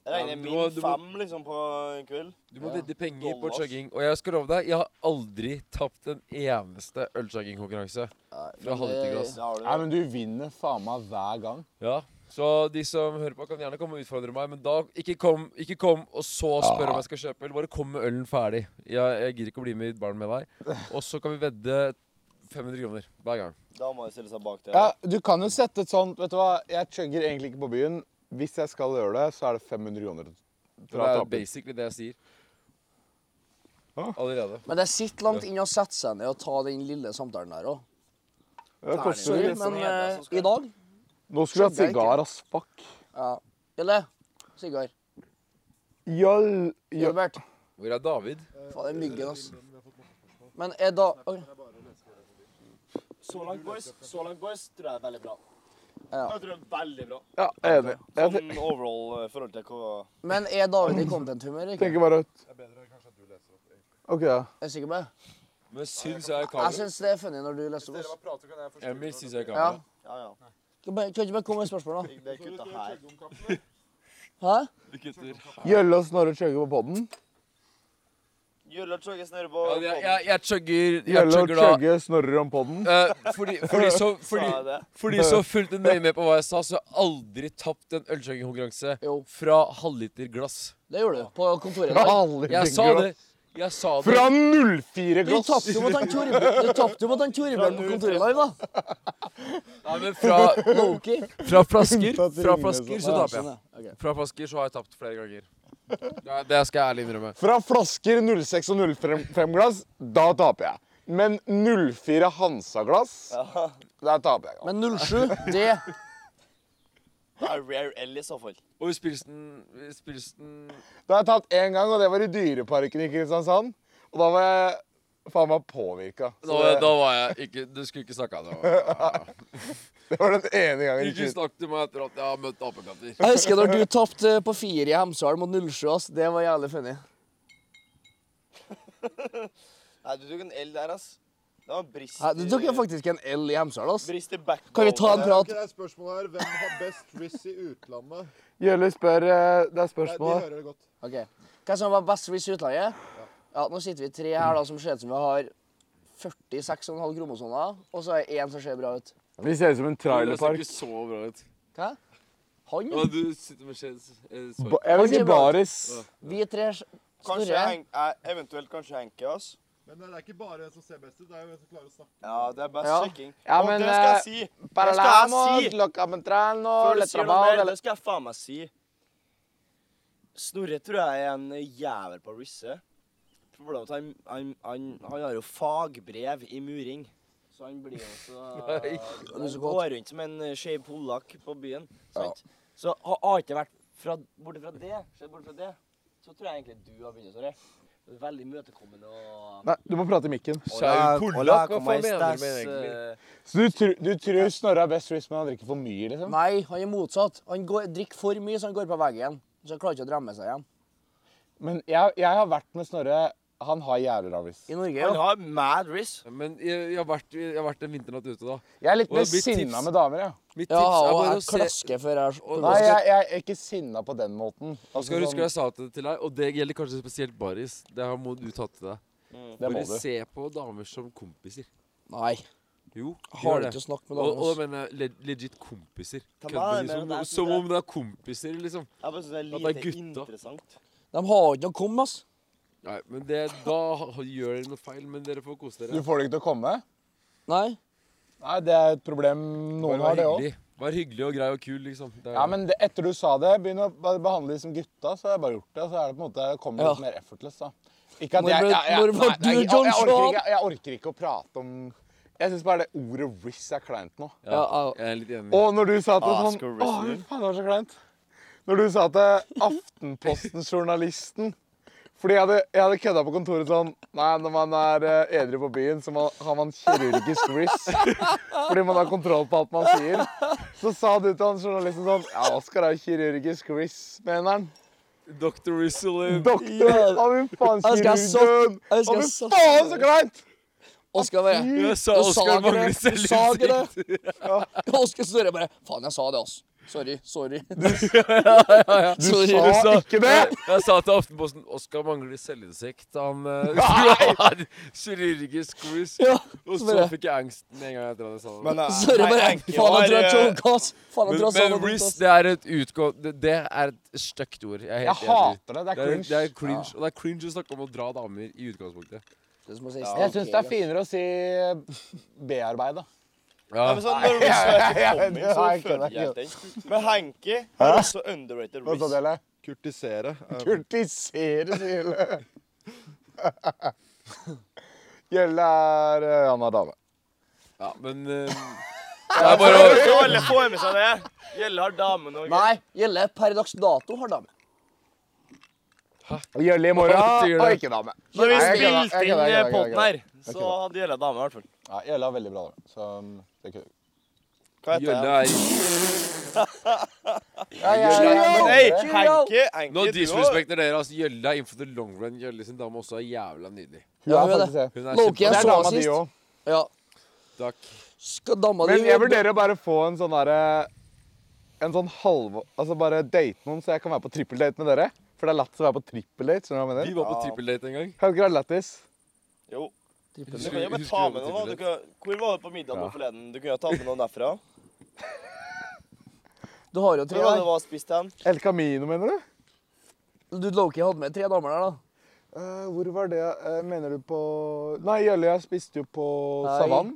regner
Ja, du
min
må- du må-
fem liksom på en kveld.
Du må vedde penger på
Dollars.
chugging. Og jeg skal love deg, jeg har aldri tapt en eneste ølchuggingkonkurranse. Fra halvliterglass.
Det har du.
Nei, men du vinner faen meg hver gang.
Ja, så de som hører på kan gjerne komme og utfordre meg, men da ikke kom, ikke kom og så spørre om jeg skal kjøpe øl. Bare kom med ølen ferdig. Jeg, jeg gidder ikke å bli med i baren med deg. Og så kan vi vedde 500 kroner hver gang.
Da må jeg stille seg bak det.
Ja, Du kan jo sette et sånt Vet du hva, jeg chugger egentlig ikke på byen. Hvis jeg skal gjøre det, så er det 500 kroner.
For det er jo basically det jeg sier.
Ah.
Allerede.
Men det sitter langt inne å sette seg ned og ta den lille samtalen der òg.
Det koster
Sorry,
jo litt.
men
Hedda som
eh,
skal-
i dag
Nå skulle du
Chugger
hatt
jeg
sigar, ass. Fuck.
Ja. Eller sigar.
Jøll, jøll.
Gilbert.
Hvor er David?
Faen, den myggen, altså. Men er da ok.
Så langt, boys, så langt, boys, tror jeg er veldig bra.
Ja.
Jeg tror det er veldig bra.
Ja, enig. Jeg
Sånn overall eh, i forhold til hva
Men er David i content-humør? ikke?
tenker bare ut. OK, ja.
Er du sikker på det?
Men syns jeg
Jeg
kamera?
syns det er funny når du leser opp. ass.
Emil syns jeg
Altså, Ja.
kamera.
Ja, ja.
Kan bare- kan ikke bare komme med spørsmål, da?
Det er kutta her.
Hæ?
Vi kutter.
Jølle og Snorre chugger på podden.
Jølle og Tjøgge snurrer på
Ja, jeg, jeg, jeg chugger, jeg
Jølle og
chugger da.
chugger Snorre om podden.
Eh, fordi, fordi, så, fordi,
jeg det?
Fordi så fulgte nøye med på hva jeg sa, så har jeg aldri tapt en ølsjøggingkonkurranse
Jo.
fra halvliterglass.
Det gjorde du. På kontoret. i dag.
Aldri
Jeg sa
tenker
det. Jeg sa det.
Fra 04
Du
glass!
tapte jo mot han Toribjørn Du tapte jo mot han Toribjørn på kontoret i dag, da.
Nei, men fra,
Loki.
fra flasker
Unntatt
Fra
ringene
flasker så
Ja,
taper jeg.
sånn, ja. Ok.
Fra flasker så har jeg tapt flere ganger. Det, det skal jeg ærlig innrømme.
Fra flasker 06 og 05 glass, da taper jeg. Men 04 Hansa-glass, der taper jeg.
Men 07, det
Det er Rare L i så fall.
Og vi spilte den, vi spilte den
Da har jeg tatt én gang, og det var i Dyreparken i Kristiansand. Og da var jeg faen meg påvirka. Så
da,
det,
da var jeg ikke Du skulle ikke snakke om det.
det var den ene gangen.
Ikke
i shit.
snakk til meg etter at jeg har møtt apekatter.
Jeg husker når du tapte på fire i Hemsedal mot 07, ass. Det var jævlig funny.
Nei, du tok en L der, ass. Det var en brist
Hæ, Du tok jo faktisk en L i Hemsedal, ass.
Brist i backbone.
Kan vi ta en
Det er,
prat?
ok, det er et spørsmål her. Hvem har best riss i utlandet? Nei,
Jølle spør eh, Det er
de
spørsmål her.
hører det godt.
Ok. Hva som var best hvis utlandet? Ja, nå sitter vi tre her da, som ser ut som vi har 46,5 kromosoner, og så er det én som ser bra ut.
Vi ser ut som en
Det ser
trailerpark.
ikke så bra ut.
Hæ? Han?
Ja, du sitter med skjeds... eh, sorry.
Ba- Jeg vil si baris.
Vi tre
Kanskje
Snorre.
Henk, eh, eventuelt kanskje Henke, ass.
Men eh, det er ikke bare hvem som ser best ut, det er jo hvem som klarer å snakke.
Ja, det er best
Ja.
sjekking.
Ja,
Og
men,
det skal
eh,
jeg si. Det skal jeg si. Før du sier noe mer, det skal jeg faen meg si. Snorre tror jeg er en jævel på å risse. Problemet er at han, han, han, han har jo fagbrev i muring. Så han blir jo så
(laughs)
Han
så godt.
går rundt som en eh, skeiv polakk på byen. Sant? Så har har ikke vært fra, borte fra det, sett bort fra det, så tror jeg egentlig du har begynt, Snorre. Du er Veldig imøtekommende og
Nei, du må prate i mikken.
Skeiv polakk? Hva faen mener du med det egentlig?
egentlig?
Så du, tr- du tror Snorre er best risk, men han drikker for mye, liksom?
Nei, han er motsatt. Han går, drikker for mye, så han går på veggen. Så han klarer ikke å drømme seg igjen.
Men jeg, jeg har vært med Snorre. Han har jævlig lav risk.
I
eh,
Norge,
Han
jo.
har mad risk.
Men jeg, jeg, har vært, jeg har vært en vinternatt ute, da.
Jeg er litt
Og
mer
det blir
sinna
tips.
med damer, jeg.
Mitt
Ja,
tips er
og
bare
jeg
å se
klasker før jeg
og-
Nei,
Nei,
jeg, jeg er ikke sinna på den måten.
Du skal huske jeg sa det til deg, og det gjelder kanskje spesielt Baris. Det her må du ta til deg.
Det må
Bare
du.
se på damer som kompiser.
Nei.
Jo, de
Har du
det.
ikke å snakke med
Og, og da
damene?
mener jeg le- legit kompiser.
Ta
Kødder
meg med
liksom.
det der,
Som
Frode.
om det er kompiser, liksom.
Jeg bare synes det er
At
lite
det er gutta.
interessant.
De har ikke noe å komme med, ass.
Nei, men det, da ha- gjør dere noe feil, men dere får kose
Du
dere.
får det ikke til å komme?
Nei.
Nei, det er et problem
Bare
noen
vær
har, det òg.
hyggelig. Vær hyggelig og grei og kul, liksom. Det er-
Ja, men det, etter du sa det, begynn å be- behandle de som gutta, så har jeg bare gjort det. Så er det på en måte, det kommer
Ja.
litt mer effortless, da. Ikke at
Når
jeg,
ble-
jeg, jeg,
når var
nei, nei,
du
jeg,
John
jeg, orker
Shaw?
ikke, jeg orker ikke å prate om Jeg syns bare det ordet 'riss' er kleint nå.
ja,
ja, ja.
Jeg er litt enig.
Og når du sa at det
Ah,
sånn
skal
Å,
du
fy
wrestle?
faen, det var så kleint. Når du sa til Aftenposten-journalisten Fordi jeg hadde, jeg hadde kødda på kontoret sånn Nei, når man er eh, edru på byen, så man, har man kirurgisk riss. Fordi man har kontroll på alt man sier. Så sa du til han journalisten sånn Ja, Oskar er jo kirurgisk riss, mener han.
Dr. Rizzle.
Doktor! Å, fy faen,
Jeg husker jeg satt-
kirurgen!
jeg
Å,
husker jeg
fy
satt-
faen, så kleint!
Oskar bare (laughs)
Jeg sa
Du sa
Oskar
ikke
mangler
det. Du sa ikke det.
(laughs) selvinnsikt.
Oskar Støre bare Faen, jeg sa det, ass. Sorry. Sorry. (laughs)
Du
Sorry.
sa
Du sa-
ikke det!
Eh, Jeg, jeg sa til Aftenposten Oskar mangler selvinnsikt. Han eh, (laughs) skulle ha en kirurgisk riss.
Ja,
Og
så
så
bare-
fikk jeg angst med en gang etter at jeg sa det.
eh,
Sorry, bare Faen, jeg tror jeg choka, ass. Faen, jeg
Men,
tror jeg sa
men
noe dumt,
Riz,
ass.
det er et utgå... Det, det er et stygt ord. Jeg er
Jeg
helt enig.
hater det. Det
Det
er
er,
cringe.
det er cringe, og det er cringe å snakke om å dra damer i utgangspunktet.
Det er som å si
Jeg syns det er
sneakers.
finere å si eh, bearbeida.
Ja.
Nei, men sånn, når Riz er performing,
det
så
har jeg ikke,
føler
det har
jeg den. Men Hanky er også underrated
Hva sa
Riz.
du, Helle?
Kurtisere. er-
(laughs) Kurtisere, sier (laughs) Gjølle. Gjølle er eh, Han er dame.
ja, men eh, Det er bare å
Så alle får med seg det. Gjelle har damen og
Nei, Gjelle per dags dato har dame.
Gjølle i
Hva betyr
morgen
det?
og ikke dame.
Når vi
Nei, jeg kødder, jeg kødder,
spilte
jeg kødder, jeg
inn poden
kødder.
her, så hadde Gjelle dame, i hvert fall.
Ja, Gjølle er veldig bra dame, så um, det er ikke
Hva heter
Gjølle
jeg?
er
ja, ja, ja, men-
Nei, Hanky,
Nå
Hanky, du også.
disrespekter dere. altså Gjølle er in for the long run. Gjølle sin dame også er jævla nydelig.
Hun
Ja,
er
hun er
faktisk det.
Hun er
Loki,
Det
jeg
er
så
kjempebra.
dama di
sist.
òg.
Ja.
Takk.
Skal dama di
Men jeg vurderer å bare få en sånn derre En sånn halv... Altså bare date noen, så jeg kan være på trippeldate med dere. For det er lett å være på trippeldate. skjønner du hva jeg
Vi
mener?
var på trippeldate en gang.
Kan det ikke være lættis?
Jo. Du
Husker-
kan jo bare
husker
ta
vi
med noen.
var på
da. Du
trippeldate?
kan, hvor var du på middag nå forleden? Du kunne jo ta med noen derfra.
Du har jo tre
Hvor var det du
der.
var og spiste hen?
El Camino, mener du?
Du, Loki hadde med tre damer der, da.
Eh, hvor var det eh, Mener du på Nei, Jølle, jeg spiste jo på
Nei.
Savann.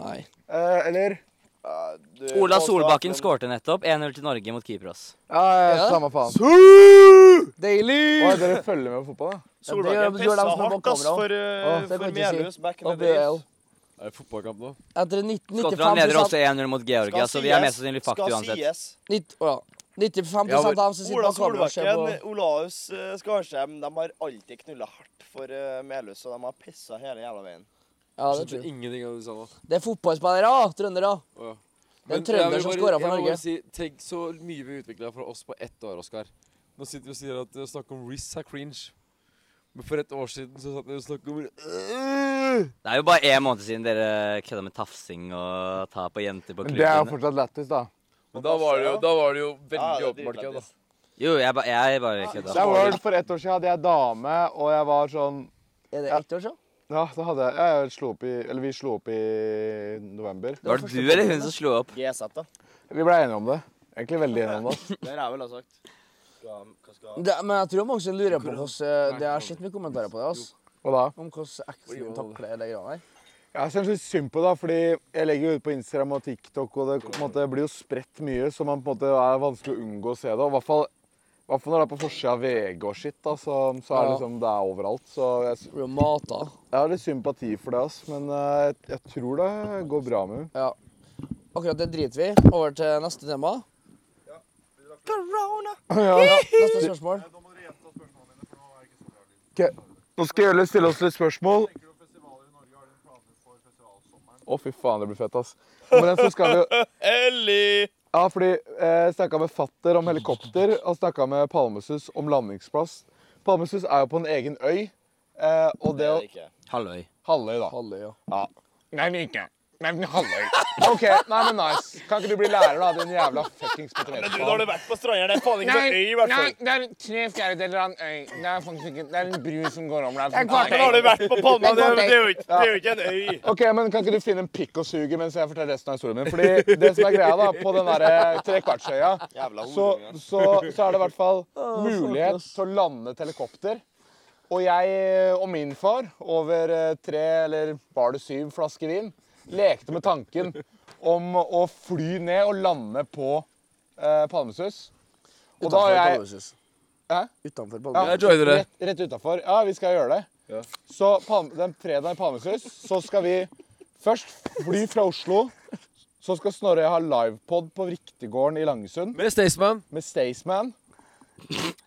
Nei.
Eh, eller
Ja, du påstår
Ola
at
Solbakken
Eh, den-
skårte nettopp 1-0 til Norge mot Kypros.
Ja, ja,
Ja.
samme faen.
Deilig!
Hva, (laughs) dere følger med på fotball, da?
Ja,
Solbakken
det gjør- det gjør
pissa
dem som er bak
hardt ass,
kamera.
for,
Å,
det
uh,
kan
for
jeg ikke si.
Melhus back in
Og
the
BL.
days.
Er det fotballkamp nå?
Etter 19-
Skottland leder
95
også 1-0 mot Georgia, så Altså, vi er mest sannsynlig fucked
Skal
uansett.
sies.
Nitt- å, ja. 95
Ja,
av
men-
dem som sitter
Ola
på kamera, ser på
Solbakken, Olaus eh, Skarsheim, de har alltid knulla hardt for eh, Melhus, og de har pissa hele jævla veien.
Ja, det tror
Skjønte
jeg.
ingenting av det du sa nå.
Det er fotballspillere, trøndere.
Å,
Det er
ja.
en
Men jeg
trønder
vil
som
bare-
scoret for
jeg vil
Norge.
bare Si, tenk så mye vi utvikla fra oss på ett år, Oskar. Nå sitter vi og sier at å snakke om Riz er cringe. Men for et år siden så satt vi og snakket om
Øh!
Det er jo bare én måned siden dere kødda med tafsing og ta på jenter på
Men det er jo
klubben.
fortsatt lættis, da.
Men da var det jo, da var det jo
Ja,
veldig
det er
åpenbart ikke da.
dritlættis.
Jo, jeg, ba, jeg bare
Det er
kødda.
World for ett år siden hadde jeg dame, og jeg var sånn
Er det
Ja.
ett år siden?
Ja, da hadde jeg, ja, jeg slo opp i Eller vi slo opp i november.
var
Var det
første
du eller
kampen,
hun som slo opp?
GZ, da.
Vi ble enige om det. Egentlig veldig enige om det. ass.
Det har jeg vel ha sagt. Skal, hva skal
Det, men jeg tror mange som lurer på hvordan eh, Det har sett mye kommentarer på det. ass.
Og da?
Om hvordan eksen takler det greia der.
Jeg syns litt synd på det, da, fordi jeg legger jo ut på Instagram og TikTok, og det på en måte, blir jo spredt mye, så man på en måte er vanskelig å unngå å se det. Og i hvert fall, i hvert fall når det er på forsida av VG og shit, da, så, så er det
Ja.
liksom det er overalt. Så jeg, s-
Blir jo mata.
jeg har litt sympati for det, ass, men eh, jeg, jeg tror det går bra med (laughs) henne.
Ja. Akkurat det driter vi i. Over til neste tema.
Corona!
Neste spørsmål.
Nå må dere gjenta spørsmålene mine, for nå er det ikke så bra lyd.
Nå skal Jølle stille oss litt spørsmål.
Tenker du om festivaler i Norge? Har dere planer for festivalsommeren?
Å, fy faen, det blir fett, ass. Men den så skal vi jo
Ellie!
Ja, fordi eh, jeg snakka med fatter om helikopter, og snakka med Palmesus om landingsplass. Palmesus er jo på en egen øy, eh, og det å
ikke.
Halvøy.
Halvøy, da.
Halvøy, ja.
Nei, men ikke. Nei, men halløy. (laughs) OK, nei, men nice. Kan ikke du bli lærer, da, din jævla fuckings potetfaen?
vært på stranda. Det er faen
Nei, nei, det er tre fjerdedeler av en øy. Det er faktisk ikke Det er en bru som går om deg.
Det er en kvartøy. Nå har du
vært på Palma.
Det er- det er
jo ikke, det er jo ikke en øy.
Ok, men Kan ikke du finne en pikk og suge mens jeg forteller resten av historien min? Fordi det som er greia da, På den der eh, trekvartsøya så, så, så er det i hvert fall mulighet til å lande et helikopter. Og jeg eh, og min far, over eh, tre eller var det syv flasker vin, lekte med tanken om å fly ned og lande på eh, Palmesus. Og da har jeg Hæ?
Utenfor
Ja,
Palmesus.
Jeg joiner det.
Rett, rett utafor. Ja, vi skal gjøre det. Så Palm- den fredagen i Palmesus, så skal vi først fly fra Oslo. Så skal Snorre ha livepod på Riktiggården i Langesund
Med Staysman.
med Staysman.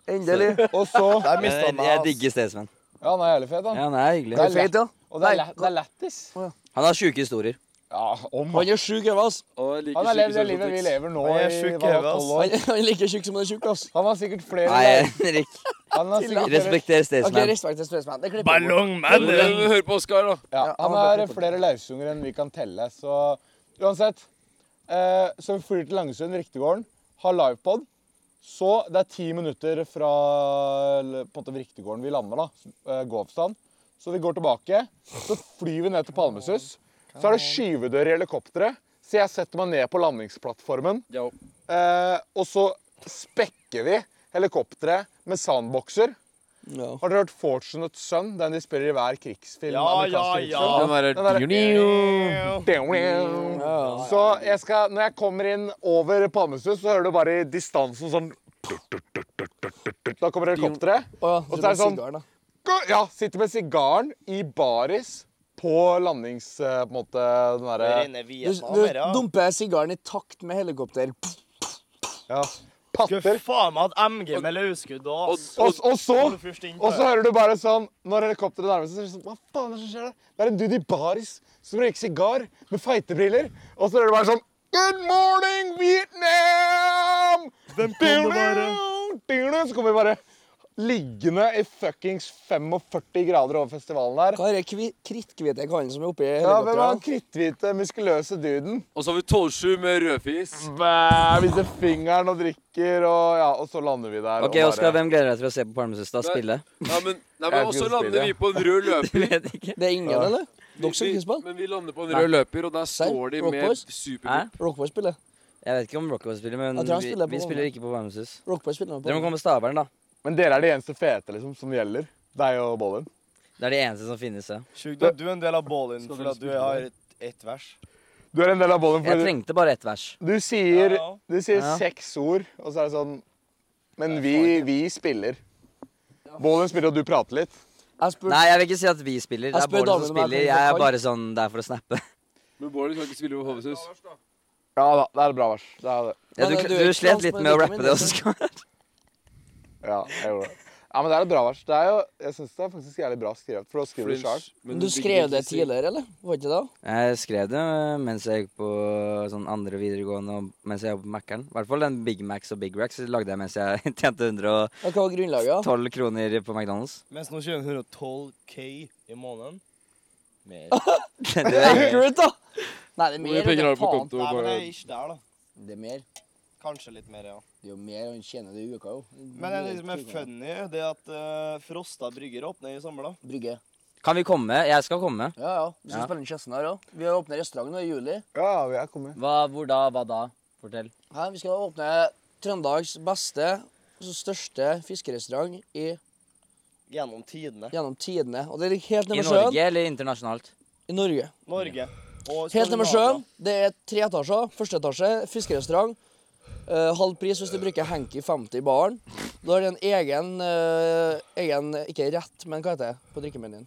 Endelig.
Og så
Der
Jeg,
mista
jeg,
han meg.
jeg
ass.
digger Staysman.
Ja, han er jævlig fet,
Ja,
han.
han er hyggelig.
Det er feit, ja.
Og det
Nei,
er, la- det er lættis.
Han har sjuke historier.
Ja, om
Han er sjuk ræva, ass.
Og jeg liker
Han har
syke
levd det
som
livet vi
Tix.
lever nå
Han er
i
sjuk
hva,
i hodet,
12
Han
år.
han er like tjukk som han er tjukk, ass.
Han har sikkert flere
Nei,
live-
(laughs) Henrik.
han har sikkert flere,
Respekter
Ok,
Staysman.
respekt til Staysman. Det klipper vi bort.
Men
Ballongmenn.
eh, Hør på Oskar, da.
ja,
Ja, han
han
har
har
flere-
flere lausunger enn vi kan telle, så uansett. Eh, så vi flyr til Langesund, Riktiggården, har livepod. Så det er ti minutter fra eller, på en måte Riktiggården vi lander, da. eh, Gåavstand. Så vi går tilbake. Så flyr vi ned til Palmesus. Så er det skyvedør i helikopteret. Så jeg setter meg ned på landingsplattformen.
Ja.
Eh, og så spekker vi helikopteret med sandbokser.
Ja.
Har dere hørt 'Fortunate Son'? Den de spiller i hver krigsfilm?
Ja,
amerikansk
ja,
krigsfilm?
Den derre
Den derre- Så jeg skal, når jeg kommer inn over Palmesus, så hører du bare i distansen sånn Da kommer helikopteret.
Å ja,
Og
så
så er
det
det sånn-
sigaren, da.
Ja, sitter med sigaren i baris på landings... eh, På en måte den derre
Du, du dumper sigaren i takt med helikopter. Pff,
ja,
Skulle
Patter.
faen meg hatt MG med løsskudd og
Og, og så Og så hører du bare sånn Når helikopteret nærmer seg, så er det sånn Hva faen er det som skjer der? Det er en dude i baris som røyker sigar med feitebriller. Og så hører du bare sånn Good morning, Vietnam! Hvem
kan det være?
Så kommer vi bare liggende i fuckings 45 grader over festivalen her.
Hva er det kvi- kritthvite kallen som er oppi
Ja, hvem er han
helikopteret?
kritthvite, muskuløse duden?
Og så har vi 12-7 med rødfis.
Mm.
Bæ, viser fingeren og drikker, og ja, og så lander vi der.
Ok,
og
Oskar, hvem gleder deg til å se på Palmesus da? Spille? (laughs)
Nei, men, nei,
Jeg
men også
kunne
lander
spille.
vi på en rød løper.
Vet ikke.
Det er ingen, eller? (laughs) Dere som ikke spiller?
Men vi lander på en rød løper, og der står de
Rock
med
Boys?
Hæ?
superkort.
Rockboy spiller.
Jeg vet ikke om Rockaway spiller, men
Jeg tror han
vi,
spiller på-
vi spiller ikke på Palmesus.
Rockboy spiller
Dere må
på.
komme med stabelen, da.
Men dere er de eneste fete liksom, som gjelder. Deg og Bollin.
Det er de eneste som finnes. Ja.
Sjukt at du er en del av Ballin, for at du har ett et vers.
Du er en del av Bollin.
Jeg
fordi du-
trengte bare ett vers.
Du sier,
Ja.
du sier
Ja.
seks ord, og så er det sånn Men vi, vi spiller. Bålen spiller, og du prater litt.
Jeg spurte
Nei, jeg vil ikke si at vi spiller. Det
Jeg
er
spør
Bård som
damen om jeg
spiller.
kan-
Jeg er
kan.
bare sånn der for å
(laughs)
snappe.
Men Bård kan ikke spille på Hovesus.
Ja da, det er et bra vers. Det er det.
Ja, du
Men, eh, du
du,
er ikke
slet
klar,
litt
men
med å
du
rappe
kommer
det
inn,
også, Skar.
Ja, jeg gjorde det. Ja, men det er et bra vers. Det er jo, jeg syns det er faktisk jævlig bra skrevet. For å skrive det sjøl.
Men du skrev det tidligere, eller? Var ikke det?
Jeg skrev det mens jeg gikk på sånn andre videregående og mens jeg jobbet på Mækkern. I hvert fall den Big Macs og Big Racks lagde jeg mens jeg (laughs) tjente 112
Ja, Hva var grunnlaget? da?
kroner på McDonald's.
Mens nå kjører han 112 K i måneden.
(laughs)
Mer.
Du er-
Accurate, da! Nei, det er
Hvor
mer.
mye
vet
penger har
du
du på
faen.
konto?
Nei, men det
Bård?
er ikke der, da.
Det er mer.
Kanskje litt mer, ja.
Det er jo mer han tjener det i uka, jo.
Men det som er funny, det er at eh, Frosta brygger åpner i sommer, da.
Brygge.
Kan vi komme? Jeg skal komme.
Ja, ja. Vi skal
Ja.
spille inn Chesson her òg. Vi har åpnet restaurant nå i juli.
Ja, vi er kommet.
Hva, hvor da? Hva da? Fortell.
Her, vi skal åpne Trøndelags beste altså største fiskerestaurant i,
Gjennom tidene.
gjennom tidene. Og det ligger helt
I
nede ved sjøen.
Norge eller internasjonalt?
I Norge.
Norge. Og
Helt nede ved sjøen.
Skandinavia.
Det er tre etasjer. Første etasje, fiskerestaurant. Eh, halv pris hvis du bruker Henki 50 i baren. Da har de en egen, eh, egen Ikke rett, men hva heter det på drikkemenyen?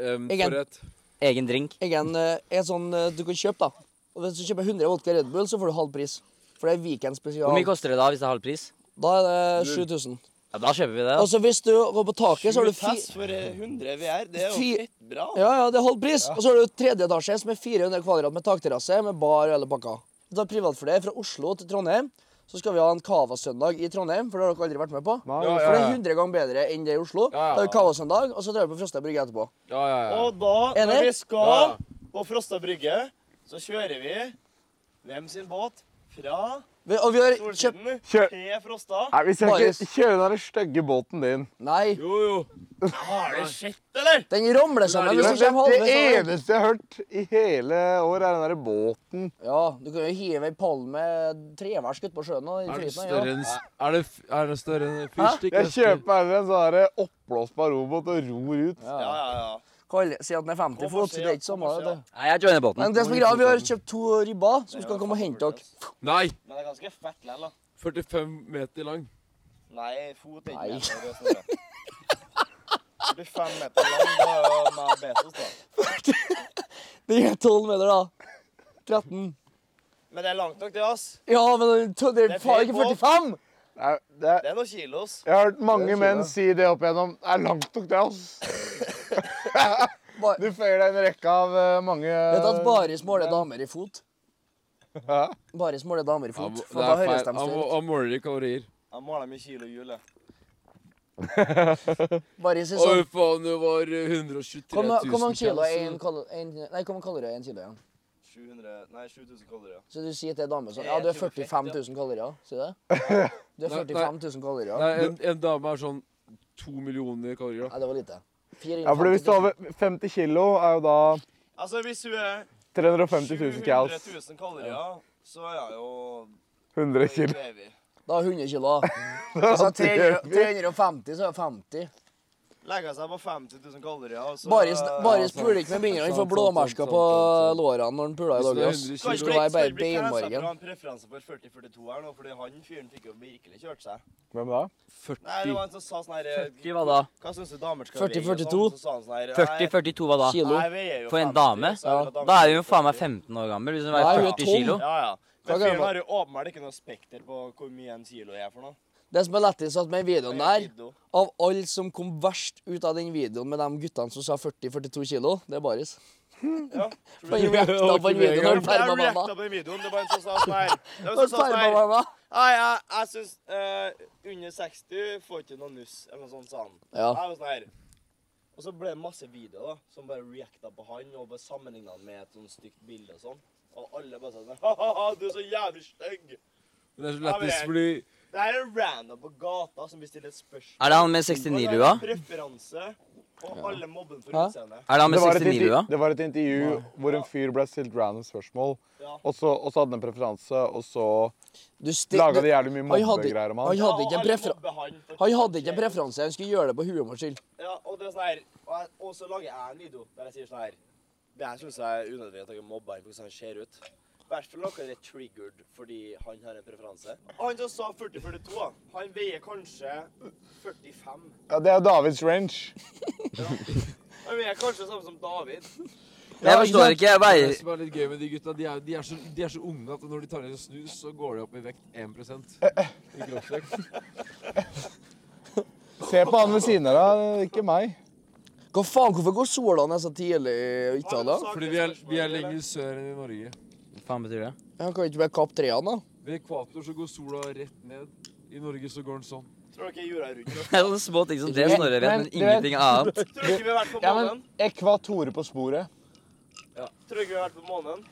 Ehm,
Egen.
forrett.
Egen drink?
Egen eh, en sånn eh, du kan kjøpe, da. Og Hvis du kjøper 100 vodka Red Bull, så får du halv pris. For det er weekend
Hvor mye
spesial.
koster det da hvis det er halv pris?
Da er det 7000.
Ja, Da kjøper vi det. da.
Og så hvis du går på taket, så har du
Sju
fi...
test for eh, 100 VR. Det er jo
Fi-
fett bra.
Ja, ja, det er halv pris. Og så har du tredje etasje, som er 400 kvadrat med takterrasse, med bar og hele pakka. Da er privatflyet fra Oslo til Trondheim. Så skal vi ha en Cava-søndag i Trondheim, for det har dere aldri vært med på.
ja,
For det
ja.
er 100 ganger bedre enn det i Oslo.
Ja, ja.
Da er det Cava-søndag, og så drar vi på Frosta brygge etterpå.
Ja, ja, ja.
Og da, når
Enig?
vi skal på Frosta brygge, Så kjører vi hvem sin båt fra
Vi, og vi har kjøpt
Solsiden
Kjø-
til Frosta.
Nei, vi skal
Marius.
ikke kjøre den der stygge båten din.
Nei,
Jo, jo.
Har det skjedd, eller?
den ramler sammen hvis
Men
den
det,
kommer
det
halvveis. over.
eneste jeg har hørt i hele år, er den der båten.
Ja, du kan jo hive ei pall med trevers utpå sjøen. Og i
Er den
flyten,
større
ja.
enn er det, f- er den større enn en fyrstikk?
Jeg kjøper meg en sånn der oppblåsbar robåt og ror ut.
Ja, ja, ja.
Kall, si at den er 50
Hvorfor
fot, så det
sier-
er ikke samme.
hvorfor
vet
sier-
du.
Nei, jeg joiner båten.
Men det som er greia, vi har kjøpt to ribber som skal komme og hente dere.
Nei!
Men det er ganske fett lell, da.
45 meter lang.
Nei, fot er ikke
Nei.
med på det
(laughs)
snøret. 45 meter lang, det er jo meg og Bezos, da.
Den er 12 meter, da. 13.
Men det er langt nok, det, ass.
Ja, men den to- det
Det
er
er
faen ikke
fake
45!
Nei, det er,
Det er noen kilos.
jeg har hørt mange
Det er
menn
kjipt,
si det opp igjennom. Det er langt nok, det, ass.
Bare,
Du føyer deg inn i en rekke av eh, mange
vet du at Baris måler damer i fot?
Hæ?
Baris måler damer i
Han,
fot,
det
for da
er
høres
feil.
de
Han, må-
større ut.
han måler i kalorier.
Jeg måler med kilo hjul, jeg.
Baris er
Oi,
sånn
faen, det var 123
Hvor
000
mange kilo er en
kalorier.
kalo- en- Nei, hvor mange kalorier er en kilo igjen?
700 Nei, 7000 kalorier.
Så du sier til en dame sånn Ja, du er 45 000 kalorier. Sier du det? Du er
Nei, nei.
45 000 kalorier.
Nei, en, en dame er sånn 2 millioner kalorier. da.
Nei, det var lite.
Ja, for hvis du har 50 kilo, er jo da
Altså, hvis hun er
350 000
700
cows.
000 kalorier, så er jeg jo
100 kilo.
baby.
Da har 100 kilo. Hvis jeg har 300 350, så er jeg 50.
Legger seg på 50 000 kalorier, og så
Baris, Baris
sant,
puler ikke med bingene. Han får
sant,
blåmerker
sant,
på
sant, sant.
lårene når han puler i
Hvis
dag.
det er
ass.
100
Det
kilo,
skal være bare
Jeg
beinmargen.
har en preferanse for 40-42 her nå, fordi han fyren fikk jo virkelig kjørt seg.
Hvem da?
Nei, det
40
var en som sa sånn her
Hva da?
Hva syns du damer skal
40,
veie? og
42?
sånn, så sa han sånn her, nei,
40-42, hva da?
Kilo.
nei, vi er jo
For en
50,
dame?
så er det
Da
damer
er hun
som
faen meg
40.
15 år gammel. Hvis hun
Nei,
veier
hun er tom.
40 kilo.
Ja, ja.
Hva
Men
kan jeg
fyren
få?
har jo åpenbart ikke noe spekter på hvor mye en kilo er for noe.
Det som er lettest at med videoen
Han er
der,
jo kiddo.
av alle som kom verst ut av den videoen med de guttene som sa 40-42 kilo, det er Baris. (laughs)
Ja, (laughs) tror
Han
du-
reacta på den videoen når han
Jeg reacta
perma
på den videoen. Det var en som sa sånn her. Det var en som sa sånn her.
mamma.
Nei, jeg, jeg syns under 60 får ikke noe nuss, eller noe sånt, sa han.
Ja.
Jeg var sånn her. Og så ble det masse videoer da, som bare reacta på han, og bare sammenligna han med et sånt stygt bilde og sånn. Og alle bare sa sånn (laughs) Ha-ha, du er så jævlig stygg.
Det er så lettest fordi
Det her er random på gata som vil stille et spørsmål.
Er det han med
Og det er
69-lua?
en Preferanse, og alle mobben for
Hæ?
utseende.
Er det han
Det
med
var, et
69-lua?
intervju, det var et intervju hvor en fyr ble stilt random spørsmål,
Ja.
og så, og så hadde han en preferanse, og så
Du sti-
laga de
du-
jævlig mye
Han hadde-
mobbegreier om
han
han.
hadde ikke en
alle
prefer-
mobber han for
Han hadde ikke en
kjekk.
preferanse. Han skulle gjøre det på humorens skyld.
Ja, og det er sånn her Og, jeg, og så lager jeg en video der jeg sier sånn her Det her syns jeg er unødvendig at dere mobber ham for hvordan han ser ut. I hvert fall dere er triggered fordi han har en preferanse. Han som sa 40-42, han veier kanskje 45.
Ja, det er Davids range.
Han veier kanskje samme som David.
Jeg forstår ikke. Jeg
det
veier
som er litt gøy med de gutta, de er, de er, så, de er så unge at når de tar ned en snus, så går de opp i vekt 1
Eh,
i kroppsvekt.
Se på han ved siden av deg, ikke meg.
Hva faen, hvorfor går sola ned så tidlig i Italia?
Fordi vi er, vi er lenger sør enn i Norge.
Hva faen betyr det?
Han kan ikke bare kappe trærne, da.
Ved ekvator så går sola rett ned. I Norge så går den sånn.
Tror dere jorda er rundt?
(laughs)
Det er sånne små ting som det
Men-
Snorre vet, men
men du vet-
ingenting annet.
Tror dere vi har vært på
Ja, men
månen?
Ekvatore på sporet.
Tror dere vi har vært på månen?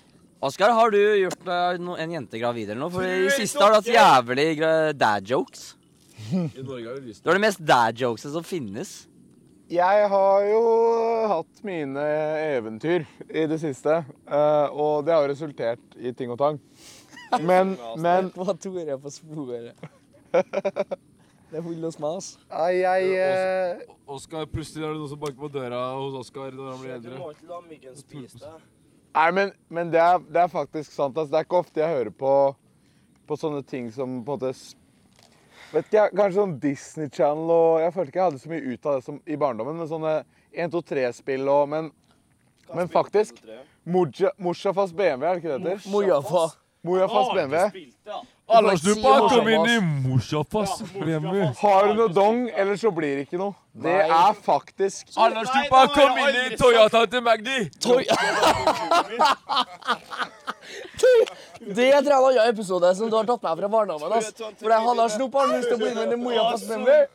Oskar, har du gjort deg no en jente gravid eller noe? For i
Tror
siste har du hatt
dere-
jævlig gra- dad jokes.
I Norge er det lyst.
Du har de mest dad jokesene som finnes.
Jeg har jo hatt mine eventyr i det siste, eh, og det har jo resultert i ting og tang. Men, men
Hva tror jeg på (laughs) sporet? Det er full hos meg, ass.
nei, jeg eh,
Oskar, plutselig er det noen som banker på døra hos Oskar når han blir
Du
eldre.
må ikke la myggen spise deg.
Nei, men, men det, er, det er faktisk sant. ass. Det er ikke ofte jeg hører på, på sånne ting som på en måte s- Vet ikke, jeg, Kanskje sånn Disney Channel og Jeg følte ikke jeg hadde så mye ut av det som, i barndommen. Men sånne 1-2-3-spill og Men,
Hva
men
spiller
faktisk
du på tre?
Moja- Mojafas BMW, er det ikke det det heter?
Mojafa.
Mojafas
Har Ah, du
BMW.
spilt det, da?
Aldersgruppa
Morsomt,
kom inn i
ass.
Morsofass
Ja,
BMW.
Morsofass.
Har du noe dong, eller så blir det ikke noe. Det
Nei.
er faktisk
Aldersgruppa
Nei, det har jeg
kom inn i
aldri
Toyotaen til Magdi.
Toy. Det tror jeg er en annen episode som du har tatt meg fra barndommen. ass. For jeg hadde snoppa han lyst til å bli med i Mojafa Spemmer.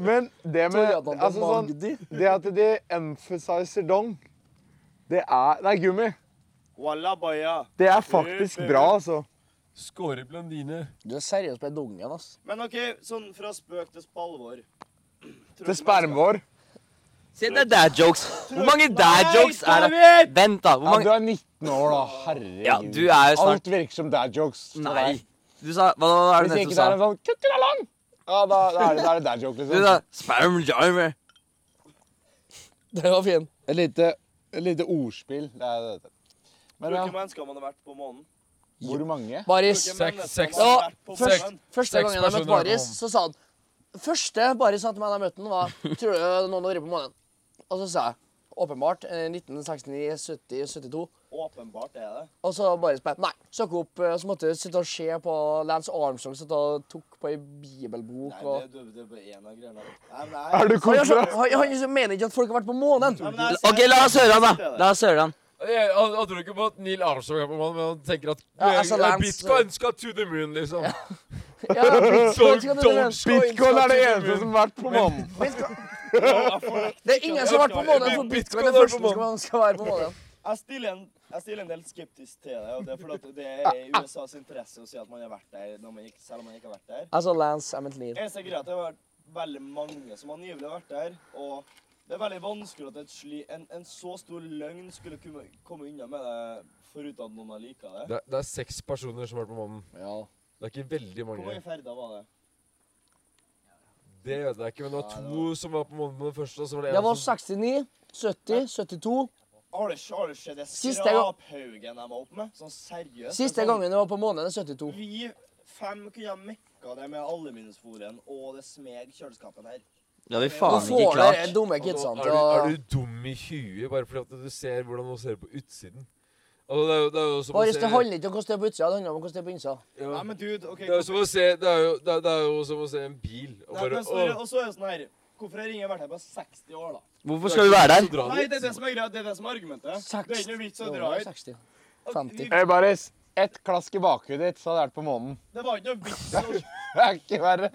Men det med altså, sånn, Det at de emphasizer dong, det er Nei, gummi.
Walla baya.
Det er faktisk bra, altså.
Skåre Blandine.
Du er seriøst på dungen, ass.
Men OK, sånn fra spøk til (clears throat) spalvor.
Til spermvår.
Se, det er dad jokes. Hvor mange dad jokes er det? Vent, da.
Ja,
Hvor
du
mange
er 19 år, da. Herregud.
Ja, du er jo snart
Alt virker som dad jokes. for
Nei.
deg.
Du sa Hva hva er
Hvis
det
ikke
neste du
det
sa?
er en sånn kutt til alarm, ja, da, da, er det, da er det dad joke,
Du
liksom.
sa sperm jarmer.
Den var fin.
Et lite, et lite ordspill. Det er det. det heter. Men
Hvor
ja,
mange mennesker man har vært på månen?
hvor mange?
Baris.
Hvor mange
Seks,
mennesker
seks.
man har
Ja,
vært på
først,
månen?
første
Seks
gangen jeg møtte
personer
Baris,
kom.
så sa han Første Baris sa til meg da jeg møtte han, var Tror du noen har vært på månen? Og så sa jeg åpenbart eh, 1969, 70, 72.
Åpenbart er det.
Og så Baris bare Nei. Søkte opp, eh, så måtte jeg sitte og se på Lance Armstrong sitte og tok på ei bibelbok
Nei,
og
det, det, det er bare en av greiene. Nei, men nei.
Er du
Han, gjør så,
kontra?
han, han liksom mener ikke at folk har vært på månen.
(laughs) Nei, men jeg ser-
OK, la oss høre han, da. La oss høre han.
Jeg, han, han tror ikke på at Neil Armstrong er på mannen, men han tenker at eh,
Ja, altså, Lance-
bitcoin skal to the moon, liksom. (laughs)
Ja, folk skal til
don't
månen.
Bitcoin er det eneste som har vært på månen.
sånn. det er ingen som har vært på månen, for bitcoin er det første som skal være på månen.
Jeg stiller, en, jeg stiller en del skeptisk til det, og det er fordi at det er i USAs interesse å si at man har vært der, når man ikke, selv om man ikke har vært der.
Altså Lance Hamilton
Eneste greia er at det har vært veldig mange som angivelig har vært der, og det er veldig vanskelig at et sli, en, en så stor løgn skulle kunne komme unna med det, foruten at noen har liket det.
Det, er seks personer som har vært på mannen.
Ja.
Det er ikke veldig
Hvor
mange.
mange ferder var det?
Det vet jeg ikke, men det var to som var på månen på den første, og så var det
Det
en
var
som
69, 70, 72.
Har det har det skjedd det
Siste gang-
skraphaugen de var oppe med? Sånn seriøst?
Siste
det er sånn-
gangen jeg var på månen, er 72.
Vi fem kunne ha mekka det med aluminiumsfolien og det smeg kjøleskapet her.
Det har vi
Nå
faen ikke
får dere
klart.
dumme
Altså,
kidsene
er,
til
du,
å
er du dum i huet bare fordi at du ser hvordan hun ser på utsiden? Altså, det, er jo, det er jo som å
Bare hvis
se
det handler ikke om hvordan det er på utsida, det handler om hvordan det er på innsida.
ja.
Nei, men dude, ok.
Det er jo som å se Det er jo, det er, det er jo som å se en bil og
Nei,
bare
men sorry,
«Åh,
og så er det sånn her Hvorfor har ingen vært her på 60 år, da?
Hvorfor skal vi være
så
der?
drar
Nei,
vi.
det er det som er greia. Det er det som er argumentet. Det er ikke noe vits å
Det
dra
var
ut.
60. 50.
Hey, Baris. Ett klask i bakhuet ditt, så hadde jeg vært på månen. (laughs)
Det var ikke noe vits å
Det er ikke verre.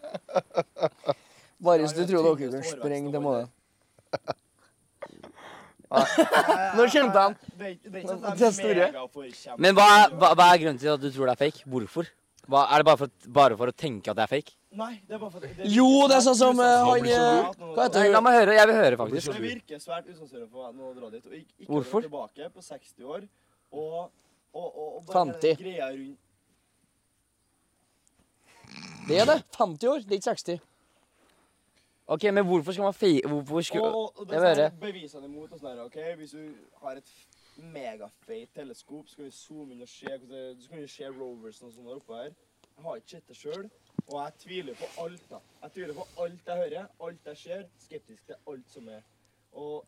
Bare hvis du tror dere kan sprenge til månen. (laughs) Nå kjente han.
Det er ikke- det er ikke sånn at
Det
de
er store.
megaforkjemper.
Men hva, er- hva, hva er grunnen til at du tror det er fake? Hvorfor? Hva, er det bare for, at- bare for å tenke at det er fake?
Nei, det er bare for det er-
Jo, det er sånn som eh, han eh,
Det virker svært-
Hva heter
Nei, la
hun?
meg høre. Jeg vil høre, faktisk.
Det virker svært usannsynlig for meg nå å dra dit. Og ikke, ikke dra
Hvorfor?
tilbake på 60 år og, og, og, og bare
50.
greia rundt
Det er det. 50 år, det er ikke 60.
OK, men hvorfor skal man fake Hvorfor skulle
Og, og det
Jeg
er
hører.
sånn bevisene imot og sånn her, ok? Hvis du har et f- megafeit teleskop, så kan vi zoome inn og se hvordan det- Så kan vi se Roversen og sånn der oppe her. Jeg har ikke sett det sjøl, og jeg tviler på alt. da. Jeg tviler på alt jeg hører, alt jeg ser. Skeptisk til alt som er. Og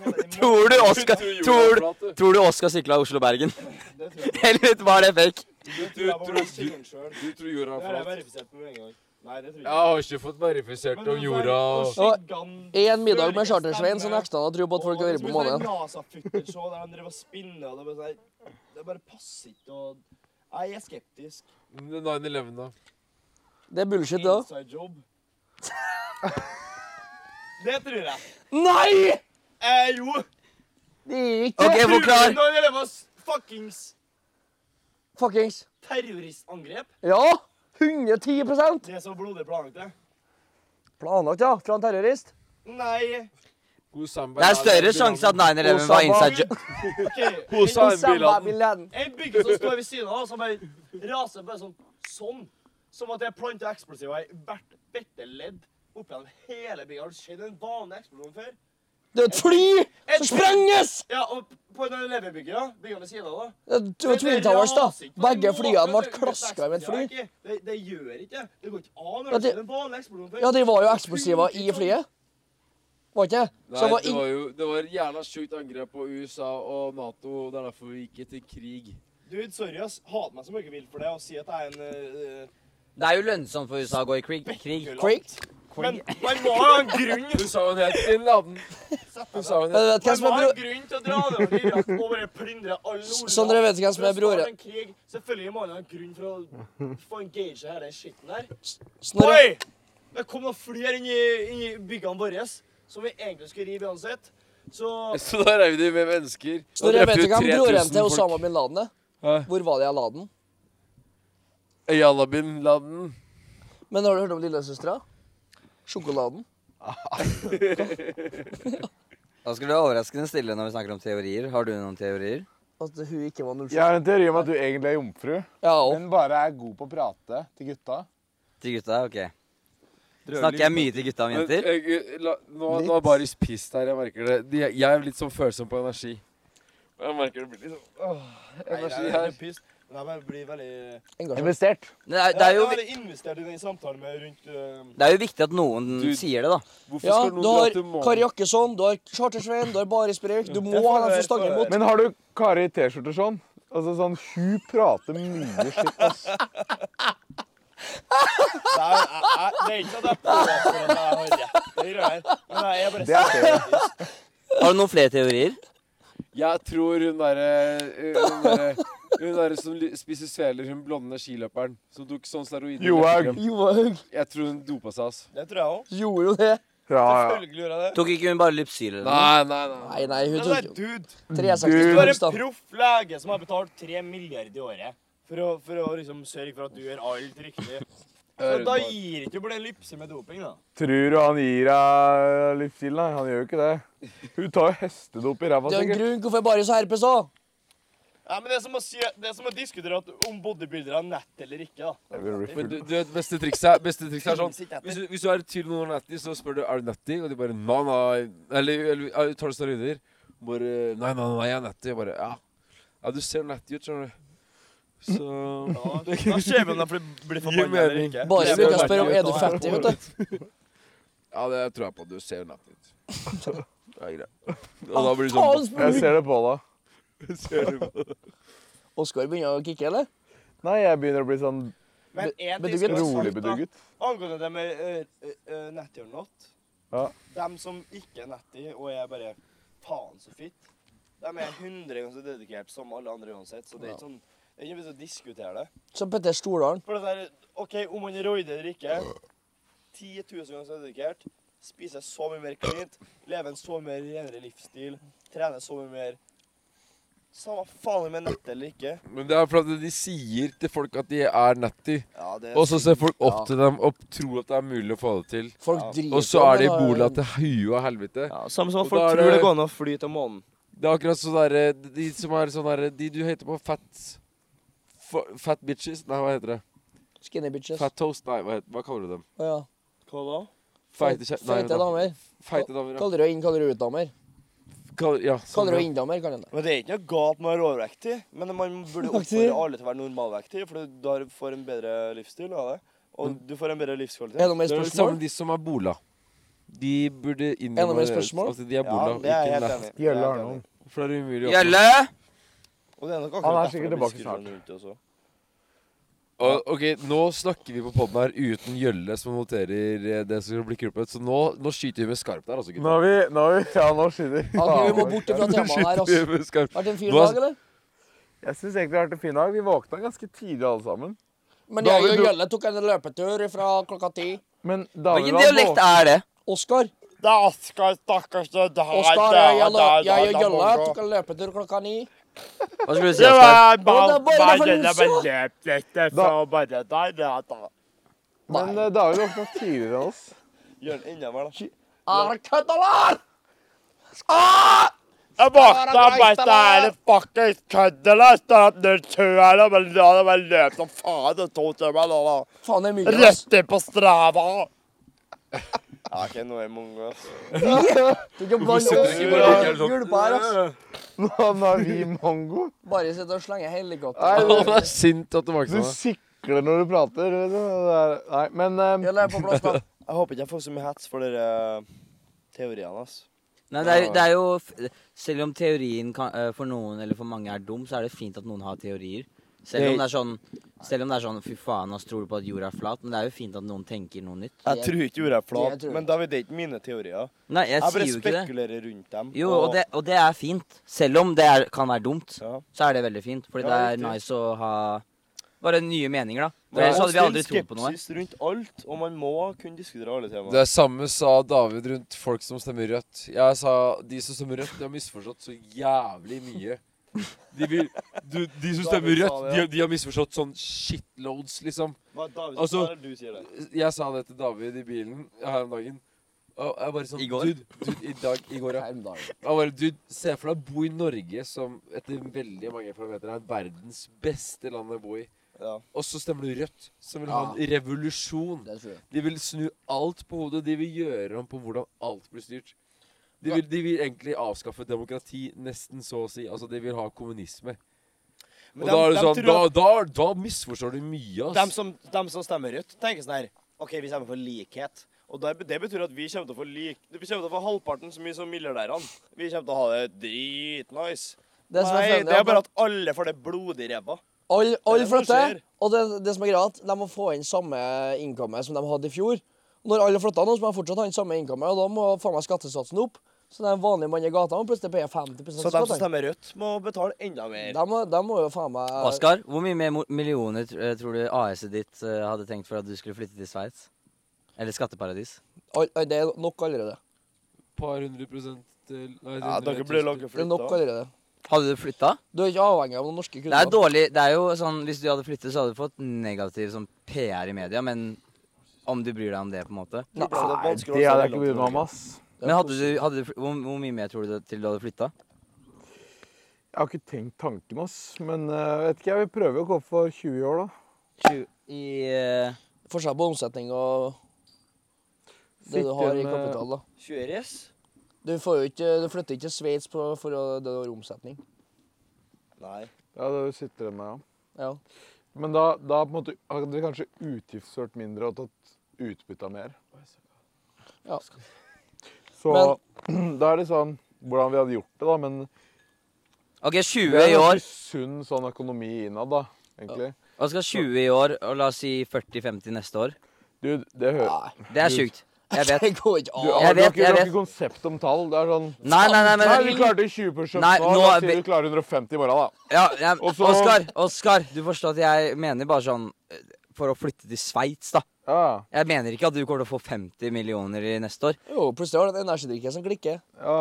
(laughs)
Tror du Oskar tror, du- tror du Oskar sykla Oslo-Bergen?
Det tror jeg.
Eller var (laughs) det fake?
Du,
Det tror jeg bare
tror,
må si den selv.
du tror jorda
Det
er
har jeg
flat?
verifisert med en gang. Nei, det tror jeg
Jeg har ikke fått verifisert om jorda og
En middag med Charter-Svein så nekta han å tro på at folk har vært på månen.
NASA-futtershow der han drev og spinnet, og det bare sånn her, Det bare passer ikke og Nei, jeg er skeptisk.
9-11, da.
Det er bullshit, det òg.
Inside job. Det tror jeg.
Nei!
Eh, jo.
Det er ikke
OK, forklar.
Nå gjelder det oss fuckings
Fuckings.
terroristangrep.
Ja! 110
Det er så blodig planlagt, det.
Planlagt, ja. Fra en terrorist.
Nei.
God
Det er større sjanse at 9-11 var inside job.
OK.
Hosa
Og Osama
biladen.
bin Laden.
En bygge som står ved siden av, som bare raser bare sånn. Sånn. Som at det er planta eksplosiver i hvert bitte ledd opp gjennom hele bygget. Har det skjedd en vanlig eksplosjon før?
Det er et fly som sprenges!
Ja, og på den leverbygget, da. Byggene ved siden av, da.
Det var Twin Towers, da. Begge flyene ble klaska med et fly.
Det, det gjør ikke det. Det går ikke an.
Ja,
Det
det-
er en vanlig eksplosjon før.
Ja, de var jo eksplosiver i flyet. Var ikke det? Så
Nei,
det var
det
ing-
var jo Det var et jævla sjukt angrep på USA og Nato, og det er derfor vi gikk til krig.
Dude, sorry, ass. Hat meg som ikke vil for det, og si at jeg er en eh,
Det er jo lønnsomt for USA å gå i krig. krig.
kulant.
Creek. Eh,
Men man må jo ha en grunn.
Du sa hun het Bin Laden. Du sa hun
Men vet
het
du hvem
Man
som
må
er
ha en
bro...
grunn til å dra nedover i Irak og bare plyndre alle olja.
Sondre, vet du hvem som er
For å
broren?
starte en krig, Selvfølgelig må man ha en grunn for å få engage her, den skitten der.
Snorre.
Oi! Det kom noen fly her inn i, inn i byggene våre som vi egentlig skulle rive uansett. Så
Så da reiv de med mennesker.
Så dere vet ikke hvem broren til Osama bin Laden er?
Hæ?
Hvor var det jeg la den?
Ayala bin Laden.
Men har du hørt om lillesøstera? Sjokoladen.
Da skulle du være overraskende stille når vi snakker om teorier. Har du noen teorier?
At hun ikke var 07.
Jeg har en teori om at du egentlig er jomfru,
Ja, og
men bare er god på å prate til gutta.
Til gutta? Ok. Snakker jeg mye til gutta om
Men,
jenter?
eh, eh, la, nå, nå er Baris pissed her, jeg merker det. De, jeg er litt sånn følsom på energi. Jeg merker det blir litt sånn åh, energi her.
Men jeg bare blir veldig
engasjement.
Investert.
Men Det er, det, er jo,
Jeg
vi-
er veldig investert i den samtalen med rundt eh,
det er jo viktig at noen
Du-
sier det, da.
Hvorfor
Ja,
skal
du
noen dra
har
til
Kari
månen?
Jakkesson, du har Charter-Svein, du har Baris Brevik. Du må
Jeg får
ha dem
høre,
som stanger
får
imot.
Men har du Kari i T-skjorte sånn? Altså sånn, Hun prater mye skitt, ass.
Nei, jeg, jeg, det er ikke at jeg påstår at jeg har rett i det her, men jeg er bare
Det er det.
skeptisk.
Har du noen flere teorier?
Jeg tror hun derre eh, Hun derre hun der som li- spiser sveler, hun blonde skiløperen som tok sånn steroider.
Johaug.
Johaug
Jeg tror hun dopa seg, ass.
Det tror jeg òg.
gjorde jo det.
Ja, ja.
Selvfølgelig gjør jeg det.
Tok ikke hun bare Lypsyl eller noe?
Nei, nei, nei.
Nei, nei, hun
Men det er
tok
dude.
360
Du er en
bokstav.
proff lege som har betalt 3 milliarder i året for å, for å liksom sørge for at du gjør alt riktig. Så da gir ikke du på det lypset med doping, da.
Tror du han gir deg livsstil? Nei, han gjør jo ikke det. Hun tar jo hestedop i ræva,
Det er en
sikkert.
grunn hvorfor Baris har herpes òg.
Ja, men det er som å, si, det er som å diskutere at om bodybuildere har nett eller ikke, da.
Jeg blir
Men
full.
du, du vet, beste trikset er, beste trikset er sånn
Finnes ikke etter.
hvis du, hvis du er i tvil om noen er natty, så spør du er du natty, og de bare nei, nei. Eller, eller ja, tar du steroider? Bare nei, nei, nei, jeg er natty. Jeg bare ja. ja, du ser natty ut, skjønner du. Så (laughs)
Da, da ser vi om de blir, blir
Gir
forbanna
mening.
eller ikke.
Baris
Det
bruker
blir
å spørre om
merkelig
er du
ut, da.
fattig, vet du.
Ja, det tror jeg på. Du ser natty ut. Det er greit. Og da
Ah,
blir du
faen,
Jeg
sånn
spør du.
ser det på deg.
(laughs) ser du på det?
Oskar begynner å kicke, eller?
Nei, jeg begynner å bli sånn
Men en ting
Bedugget.
skal være sagt,
rolig
da.
bedugget.
Angående det med uh, Natty or not
Ja.
Dem som ikke er Natty og er bare faen så fitt, dem er 100 ganger så dedikert som alle andre uansett. Så det er ikke sånn det er ikke vits å diskutere det.
Som Petter Stordalen.
For det der, OK, om man er roider eller ikke 10 000 ganger så dedikert, spiser så mye mer klint, lever en så mye mer renere livsstil, trener så mye mer Samme faen om jeg er Natty eller ikke.
Men det er fordi de sier til folk at de er natty,
Ja, det
og så ser folk opp
Ja.
til dem og tror at det er mulig å få det til.
Folk
sånn, Ja.
driter
Og så er de i
om det, da.
bola til huet og helvete.
ja, Samme som
Og
at folk
da er
tror
det-
det går an å fly til månen.
Det er akkurat sånn derre De som er sånn derre De du heter på fat fa- Fat bitches? Nei, hva heter det?
Skinny bitches.
Fat toast? Nei, hva, heter, hva kaller du dem?
Å, ja.
Hva da?
Feite kje... nei,
Feite
vent da.
damer.
Feite damer, ja.
Kaller du inn, kaller du ut damer.
Kaller, ja sånn,
Kaller du
ja.
inndamer, kaller han det.
Men Det er ikke noe galt med å være overvektig, men man burde oppfordre alle til å være normalvektig, for du har- får en bedre livsstil av det. Og du får en bedre
Er
livskvalitet.
det noe mer
Det er det samme
spørsmål?
med de som er bola. De burde
Er det
innrømme
noe spørsmål?
at de er bola,
Ja, det er jeg
ikke
helt
natt.
enig i. Det er jeg
Gjølle
helt
Arnold.
enig i.
For det er umulig å
Gjelle!
Og det er nok
Han er
akkurat derfor
sikkert
det blir
tilbake
skurrende
snart.
rundt det også.
Og, ok, nå snakker vi på podden her uten Gjølle, som noterer eh, det som blir klippet. Så nå, nå skyter vi med skarpt der, altså,
Nå
gutter.
er vi, nå er vi, ja, nå skyter
Ok, vi må
Faen,
bort fra temaet her,
Skyter
ass.
vi med skarpt.
Har det en fin
Nå er-
dag, eller?
Jeg syns egentlig vi har vært en fin dag. Vi våkna ganske tidlig alle sammen.
Men
Da har
jeg
vi
og
bro-
Gjølle tok en løpetur fra klokka ti.
Men
Hvilken
David var
dialekt
våken.
er det?
Oskar.
Det er Oskar, stakkars det der,
Oskar,
der,
jeg, og-
der,
jeg
der,
og Gjølle
der,
tok en løpetur klokka ni.
Hva skulle du si,
Det
Oskar?
var
det
bare
er bare
bare
derfor
det
du så.
der, det
Da-
var bare det der, der, der.
Men eh, David våkna tidligere enn oss.
Gjør den enda mer, da.
Er det køddalar!
Jeg våkna bare der, det fuckings kødder, da. Stod under tøya, da, men da hadde jeg løpt som faen i to timer, da, da.
Faen, det er mye. ass.
Rett inn på strava! (laughs) Ja, ok, nå er jeg mongo, ass.
Du kan bare
sitter du ikke bare og gjør sånn?
gulpe her, ass.
Nå, nå er vi mongo.
Bare sitte og slenge helikopter.
Han
Nei,
er sint at du
du,
våkna.
du sikler når du prater. vet du. Det er- Nei, men eh,
Gjølle er på plass, da.
Jeg håper ikke jeg får så mye hets for dere teoriene, ass.
Nei, det er, jo- det er jo f- Selv om teorien kan, eh, for noen eller for mange er dum, så er det fint at noen har teorier. Selv om det er sånn, selv om det er sånn fy faen, ass, tror du på at jorda er flat? Men det er jo fint at noen tenker noe nytt.
Jeg tror ikke jorda er
Jeg tror
flat,
det.
men David, det er ikke mine teorier.
Nei,
Jeg
jeg, sier
bare
jo ikke det.
spekulerer rundt dem.
Jo, og det, og det er fint. Selv om det er, kan være dumt,
Ja.
så er det veldig fint. Fordi
Ja,
det er
riktig.
nice å ha Bare nye meninger, da. For
Det er
Ellers hadde vi aldri trodd på noe.
skepsis rundt alt, og man må kunne diskutere alle
Det
temaer.
er samme sa David rundt folk som stemmer rødt. Jeg sa de som stemmer rødt, de har misforstått så jævlig mye. De, vil, du, de som stemmer
David sa
rødt,
det,
de,
ja.
har- de har misforstått sånn shitloads, liksom.
Hva David
Altså-
altså, du sier det?
Jeg sa det til David i bilen her om dagen. Og jeg bare sånn
I går?
Dude, dude, I dag. I går, ja. Jeg bare, dude, Se for deg å bo i Norge, som etter veldig mange parametere er verdens beste land å bo i.
Ja.
Og så stemmer du rødt, som vil ha en revolusjon.
Det tror jeg.
De vil snu alt på hodet. De vil gjøre om på hvordan alt blir styrt. De vil, de vil egentlig avskaffe demokrati, nesten så å si. Altså, de vil ha kommunisme. Og da, er det sånn, da, da, da misforstår du mye,
Dem
ass.
som, dem som stemmer rødt, tenker sånn her OK, vi stemmer for likhet. Og der, det betyr at vi kommer til å få lik... Vi kommer til å få halvparten så mye som milliardærene. Vi kommer til å ha det dritnice.
Det som er
Nei,
flaut,
det
ja,
er bare at alle får det blodig ræva.
Alle all
Det er det som
flytter,
skjer.
og det, det som er greia, er at de må få inn samme innkomme som de hadde i fjor. Når alle flytter nå, så må de fortsatt ha inn samme innkomme, og da må faen meg skattesatsen opp. Så den vanlige mannen i gata må plutselig paye 50
Så dem
skatt.
som
han.
stemmer rødt, må betale enda mer.
De må, de må jo faen meg
Oskar, hvor mye mer mo- millioner tr- eh, tror du AS-et ditt eh, hadde tenkt for at du skulle flytte til Sveits? Eller skatteparadis?
Al- al- Det er nok allerede.
Et par hundre prosent til nei,
Ja, dere
100
blir
tusen.
laget
Det er nok
flytta.
allerede.
Hadde du flytta?
Du er ikke avhengig av noen norske
Det er
kunder.
dårlig Det er jo sånn Hvis du hadde flyttet, så hadde du fått negativ sånn PR i media, men om du bryr deg om det, på en måte.
Nei, det er vanskelig å
Det hadde
stemme
jeg ikke brydd meg om, ass.
Men hadde du, hadde du fl- hvor, hvor mye mer tror du det- til du hadde flytta?
Jeg har ikke tenkt tanken, ass. Men eh, vet ikke, jeg vil prøve å gå for 20 år, da.
I eh,
Forskjell på omsetning og det du
Sitter
har i
med-
kapital, da.
20 res?
Du, får jo ikke, du flytter ikke til Sveits på- for å- det du har i omsetning.
Nei.
Ja, det sitter igjen med, ja.
Ja.
Men da, da på en måte, hadde vi kanskje utgiftsført mindre og tatt utbytte av mer.
Ja.
Så (clears throat) da er det sånn hvordan vi hadde gjort det, da. Men
OK, 20
det er
i år.
ganske sunn sånn økonomi innad, da. egentlig.
Og skal 20 i år, og la oss si 40-50 neste år.
Du, det hører
Nei.
Det er sjukt. Jeg vet.
Det går ikke an.
Du, har,
Jeg
du har
vet,
ikke,
jeg
du har
vet.
ikke konsept om tall. Det er sånn
Nei, nei, nei,
Nei,
men
vi klarte 20
Nei,
nå.
nå
Da
er vi-
sier du klarer 150 i morgen, da.
ja, ja,
Og så-
Oskar, Oskar, du forstår at jeg mener bare sånn eh, For å flytte til Sveits, da.
Ja,
Jeg mener ikke at du kommer til å få 50 millioner i neste år.
Jo, plutselig har du en energidrikke som klikker.
ja.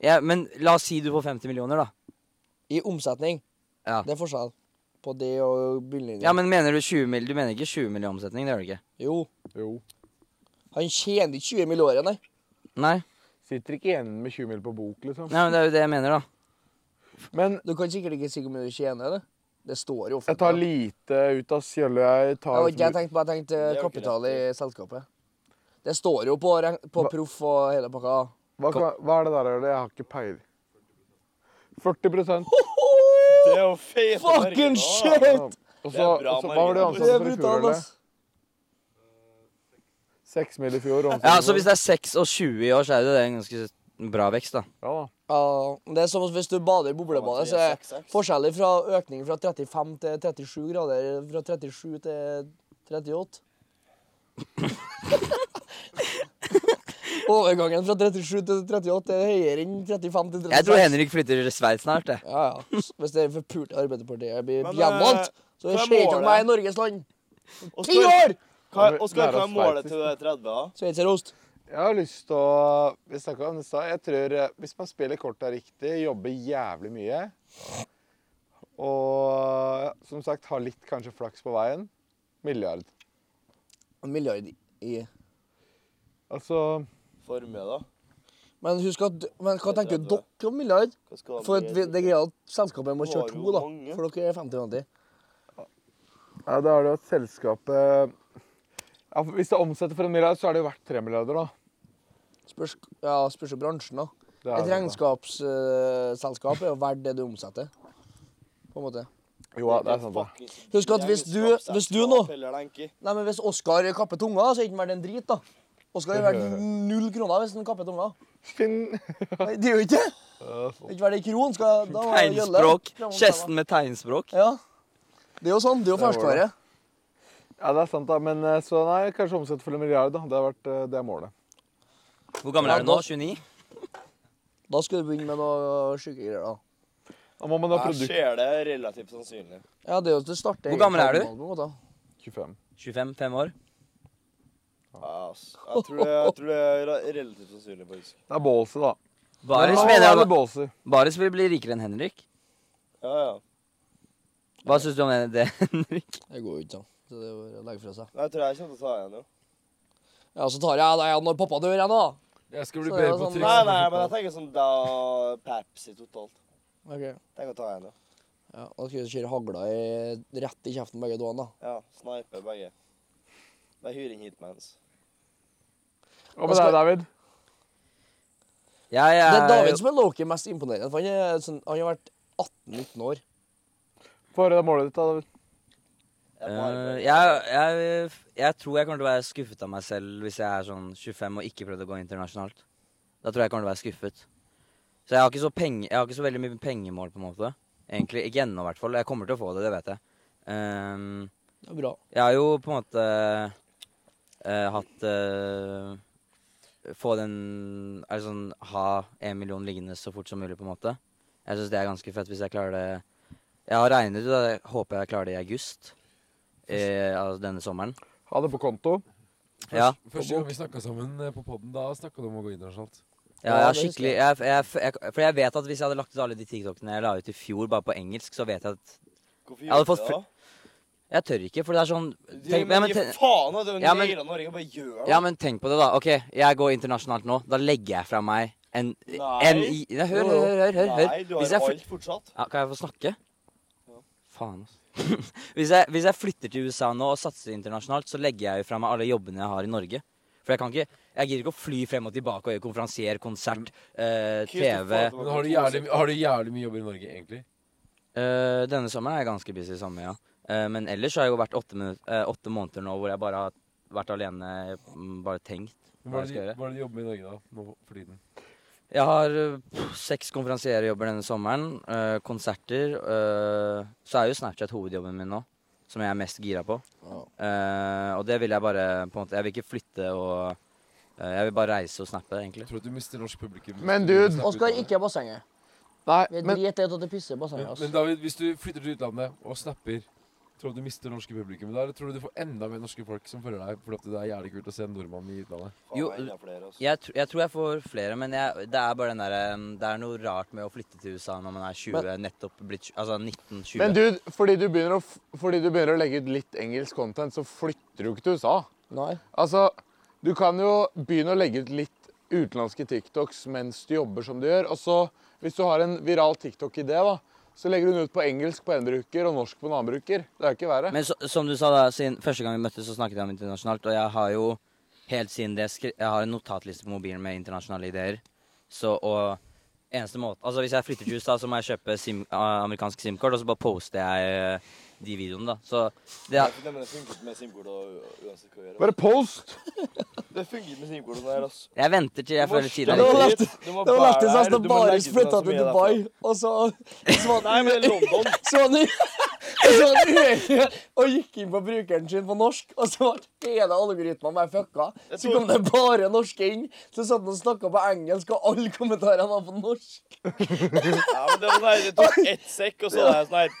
Ja, men la oss si du får 50 millioner, da.
I omsetning.
Ja.
Det er forskjell på det og bunnlinja.
Ja, men mener du 20 mil? Du mener ikke 20 mill. i omsetning, det gjør du ikke?
Jo,
Jo.
han tjener ikke 20 mill. året, nei.
Nei?
Sitter ikke igjen med 20 mil på bok, liksom.
Nei, men det er jo det jeg mener, da.
Men
Du kan sikkert ikke si hvor mye du tjener, eller? Det står jo
jeg tar
da.
lite ut av sjølle. Jeg
Det
tar
var ikke jeg tenkte på, jeg tenkte
Det er jo ikke
kapital i selskapet. Det står jo på, reg- på
Hva-
proff og hele pakka.
Hva, kan- hva er det der, Ole? Jeg har ikke peiling. 40
Det er jo feite
Fucking
marginer.
shit!
Og
Det
så,
er bra,
og så hva var det
Marie.
Det
ansatte
er
for i fjor,
brutalt,
eller?
ass.
Seks mil i fjor. og
Ja,
omsatte
så
for-
hvis det er 6 og 20 i år, så er jo det en ganske bra vekst, da.
Ja da.
Ja, det er som hvis du bader i boblebadet, så er forskjellen fra økning fra 35 til 37 grader, fra 37 til
(laughs)
38. Overgangen fra 37 til 38 er høyere enn 35 til 36.
Jeg tror Henrik flytter til Sveits snart, jeg.
Ja, ja. Hvis det forpulte Arbeiderpartiet blir
Men, eh,
gjenvalgt, så
hva er
skjer det ikke
målet?
om jeg er Norges land.
Oskar,
Ti år!
Hva er- Oskar,
Lære
hva er
oss
målet
sveitsisk.
til du er 30? da?
Sveitserost.
Jeg har lyst til å Vi snakket om det i stad. Jeg tror eh, hvis man spiller korta riktig, jobber jævlig mye Og ja, som sagt har litt kanskje flaks på veien milliard.
En milliard i
Altså
Formue, da?
Men husk at Men hva
Det
tenker
tror jeg det.
dere om milliard?
Hva skal han
For at
bli?
vi, det er greia at selskapet må
Du har
kjøre
jo
to, da.
mange.
For dere er 50-50.
ja, Da er det jo at selskapet ja, for Hvis det omsetter for en milliard, så er det jo verdt tre milliarder, da.
Spørs ja, spørs jo bransjen, da.
Det er
Et
det, da.
regnskapsselskap er jo verdt det du omsetter. På en måte.
Jo, ja, det
sånn,
er sant, da.
Husk at hvis du, hvis du nå
Peller,
Nei, men hvis Oskar kapper tunga, så er ikke han verdt en drit, da. Oskar er verdt null kroner hvis han kapper tunga.
Finn.
Nei, det er jo
(laughs)
ikke det! Det er ikke verdt ei kron. Skal, da må jeg gjelde.
Tegnspråk.
Fram og tilbake.
Kjesten med tegnspråk.
Ja. Det er jo sånn. Det er jo
Det var det.
ferskvare.
Ja, det er sant, da. Men eh, så nei, kanskje omsette for en milliard, da. Det, har vært, eh, det er målet.
Hvor gammel er du nå? 29?
Da skal du begynne med noe sjukegreier, da.
Da må man ha
Jeg
produkt
ser det relativt sannsynlig.
Ja, det er jo det starter
Hvor gammel er du?
egentlig på en måte.
25.
25? 5 år?
Ja, ass. Jeg tror det, jeg tror det er re- relativt sannsynlig, faktisk.
Det er ballsy, da.
Baris
Ja,
mener
det er
jeg
ballsy.
Baris vil bli rikere enn Henrik.
Ja, ja.
Hva syns du om det, (laughs) Henrik?
Det går jo ikke, da. Så det er bare å legge fra seg.
Men jeg tror jeg kommer til å ta igjen, jo.
Ja, så tar jeg deg igjen når pappa dør igjen, da.
Jeg skal
bli Så
bli
det er bedre på
bedre på
sånn- triks.
triks.
Nei, nei, men jeg tenker sånn da Pepsi totalt.
Ok.
Tenk å ta igjen, jo.
Ja, da skal vi kjøre hagla i, rett i kjeften begge to, da.
Ja, snipe begge. Bare hyr inn hitmans.
Hva med deg, David?
Jeg
Det er
er
David som er Loki mest imponerende, for han, er, sånn, han har vært 18-19 år.
Få høre det målet ditt, da, David.
Jeg
Øh,
bare-
jeg, jeg, jeg tror jeg kommer til å være skuffet av meg selv hvis jeg er sånn 25 og ikke prøvde å gå internasjonalt. Da tror jeg jeg kommer til å være skuffet. Så jeg har ikke så, penge, jeg har ikke så veldig mye pengemål, på en måte. Egentlig, Ikke ennå, i hvert fall. Jeg kommer til å få det, det vet jeg. Ehm,
Det er bra.
jeg har jo på en måte eh, hatt eh, Få den Altså sånn ha en million liggende så fort som mulig, på en måte. Jeg syns det er ganske fett hvis jeg klarer det Jeg har regnet ut, og jeg håper jeg klarer det i august. Eh, altså denne sommeren.
Ha det på konto.
Ja.
Første gang vi snakka sammen eh, på poden, da snakka du om å gå internasjonalt.
Ja,
Ja,
det
jeg er
husker
skikkelig jeg, jeg, jeg, For jeg vet at hvis jeg hadde lagt ut alle de TikTokene jeg la ut i fjor, bare på engelsk, så vet jeg at
Hvorfor
Jeg
gjør
hadde
du
fått
det, da?
Jeg tør ikke, for det er sånn
Gi
tenk, ja,
meg
men,
gi
ten,
faen at du
Ja, men-
nailer Norge. Bare gjør det.
ja, men tenk på det, da. OK, jeg går internasjonalt nå. Da legger jeg fra meg en, en
Nei.
i- Nei, Hør, hør, hør. hør, hør.
Nei, du
Hvis
har
jeg fly-
alt fortsatt.
Ja, kan jeg få snakke?
Ja.
Faen, altså. (laughs) hvis, jeg, hvis jeg flytter til USA nå og satser internasjonalt, så legger jeg jo fra meg alle jobbene jeg har i Norge. For jeg kan ikke Jeg gidder ikke å fly frem og tilbake og gjøre konferansier, konsert, eh, TV
altså.
Men har du jævlig, har du jævlig mye jobber i Norge, egentlig?
Eh, denne sommeren er jeg ganske busy samme, ja. Eh, men ellers har jeg jo vært åtte, minu- eh, åtte måneder nå hvor jeg bare har vært alene, mm, bare tenkt.
Men
Hva
Hva er
jeg
det
skal
du-
gjøre?
hva er det du jobber med i Norge, da? Nå for tiden?
Jeg har eh, pff, seks konferansierjobber denne sommeren, eh, konserter. eh, så er jo Snapchat hovedjobben min nå, som jeg er mest gira på. Eh, og det vil jeg bare på en måte, Jeg vil ikke flytte og eh, Jeg vil bare reise og snappe, egentlig.
Jeg tror at du mister norsk publikum.
Men
hvis du
dude-
snapper
Oskar,
ut av det.
ikke bassenget.
Nei,
Vi
men
driter i at det pisser i bassenget.
Men,
ass.
men David, hvis du flytter til utlandet og snapper, tror du at du mister norske publikum da? Eller tror du du får enda mer norske folk som følger deg fordi at det er jævlig kult å se en nordmann i utlandet?
Jo,
flere, altså.
Jeg, tr jeg tror jeg får flere, men jeg, det er bare den der, um, det er noe rart med å flytte til USA når man er 20, nettopp blitt tj- Altså 19-20.
Men dude, fordi du, begynner å, f- fordi du begynner å legge ut litt engelsk content, så flytter du jo ikke til USA.
Nei.
Altså, du kan jo begynne å legge ut litt utenlandske TikToks mens du jobber som du gjør, og så, hvis du har en viral TikTok-idé, da, så legger du den ut på engelsk på en bruker og norsk på en annen bruker. Det er jo ikke verre.
Men så, som du sa, da, siden første gang vi møttes, så snakket jeg om internasjonalt. Og jeg har jo helt siden det skri Jeg har en notatliste på mobilen med internasjonale ideer. Så og eneste måte Altså hvis jeg flytter til USA, så må jeg kjøpe sim, a- amerikansk SIM-kort, og så bare poster jeg eh, de videoene, da. Så det
Ja.
er
Nei, men det funket med SIM-kort og u- uansett hva vi gjør. altså.
Bare post!
Det funket med SIM-kort og sånn her, altså.
Jeg venter til jeg føler tiden
Det
er
var
riktig.
lett- Det var lettest at det bare flytta til Dubai, og så så var
(laughs) Nei,
han-
men det
(laughs)
er London.
så var han og så var han uheldig og gikk inn på brukeren sin på norsk, og så ble hele algoritmen bare fucka. Så kom det bare norske inn. Så satt han og snakka på engelsk, og alle kommentarene var på norsk.
Ja, men det var sånn her, det tok ett sekk, og så var jeg sånn her.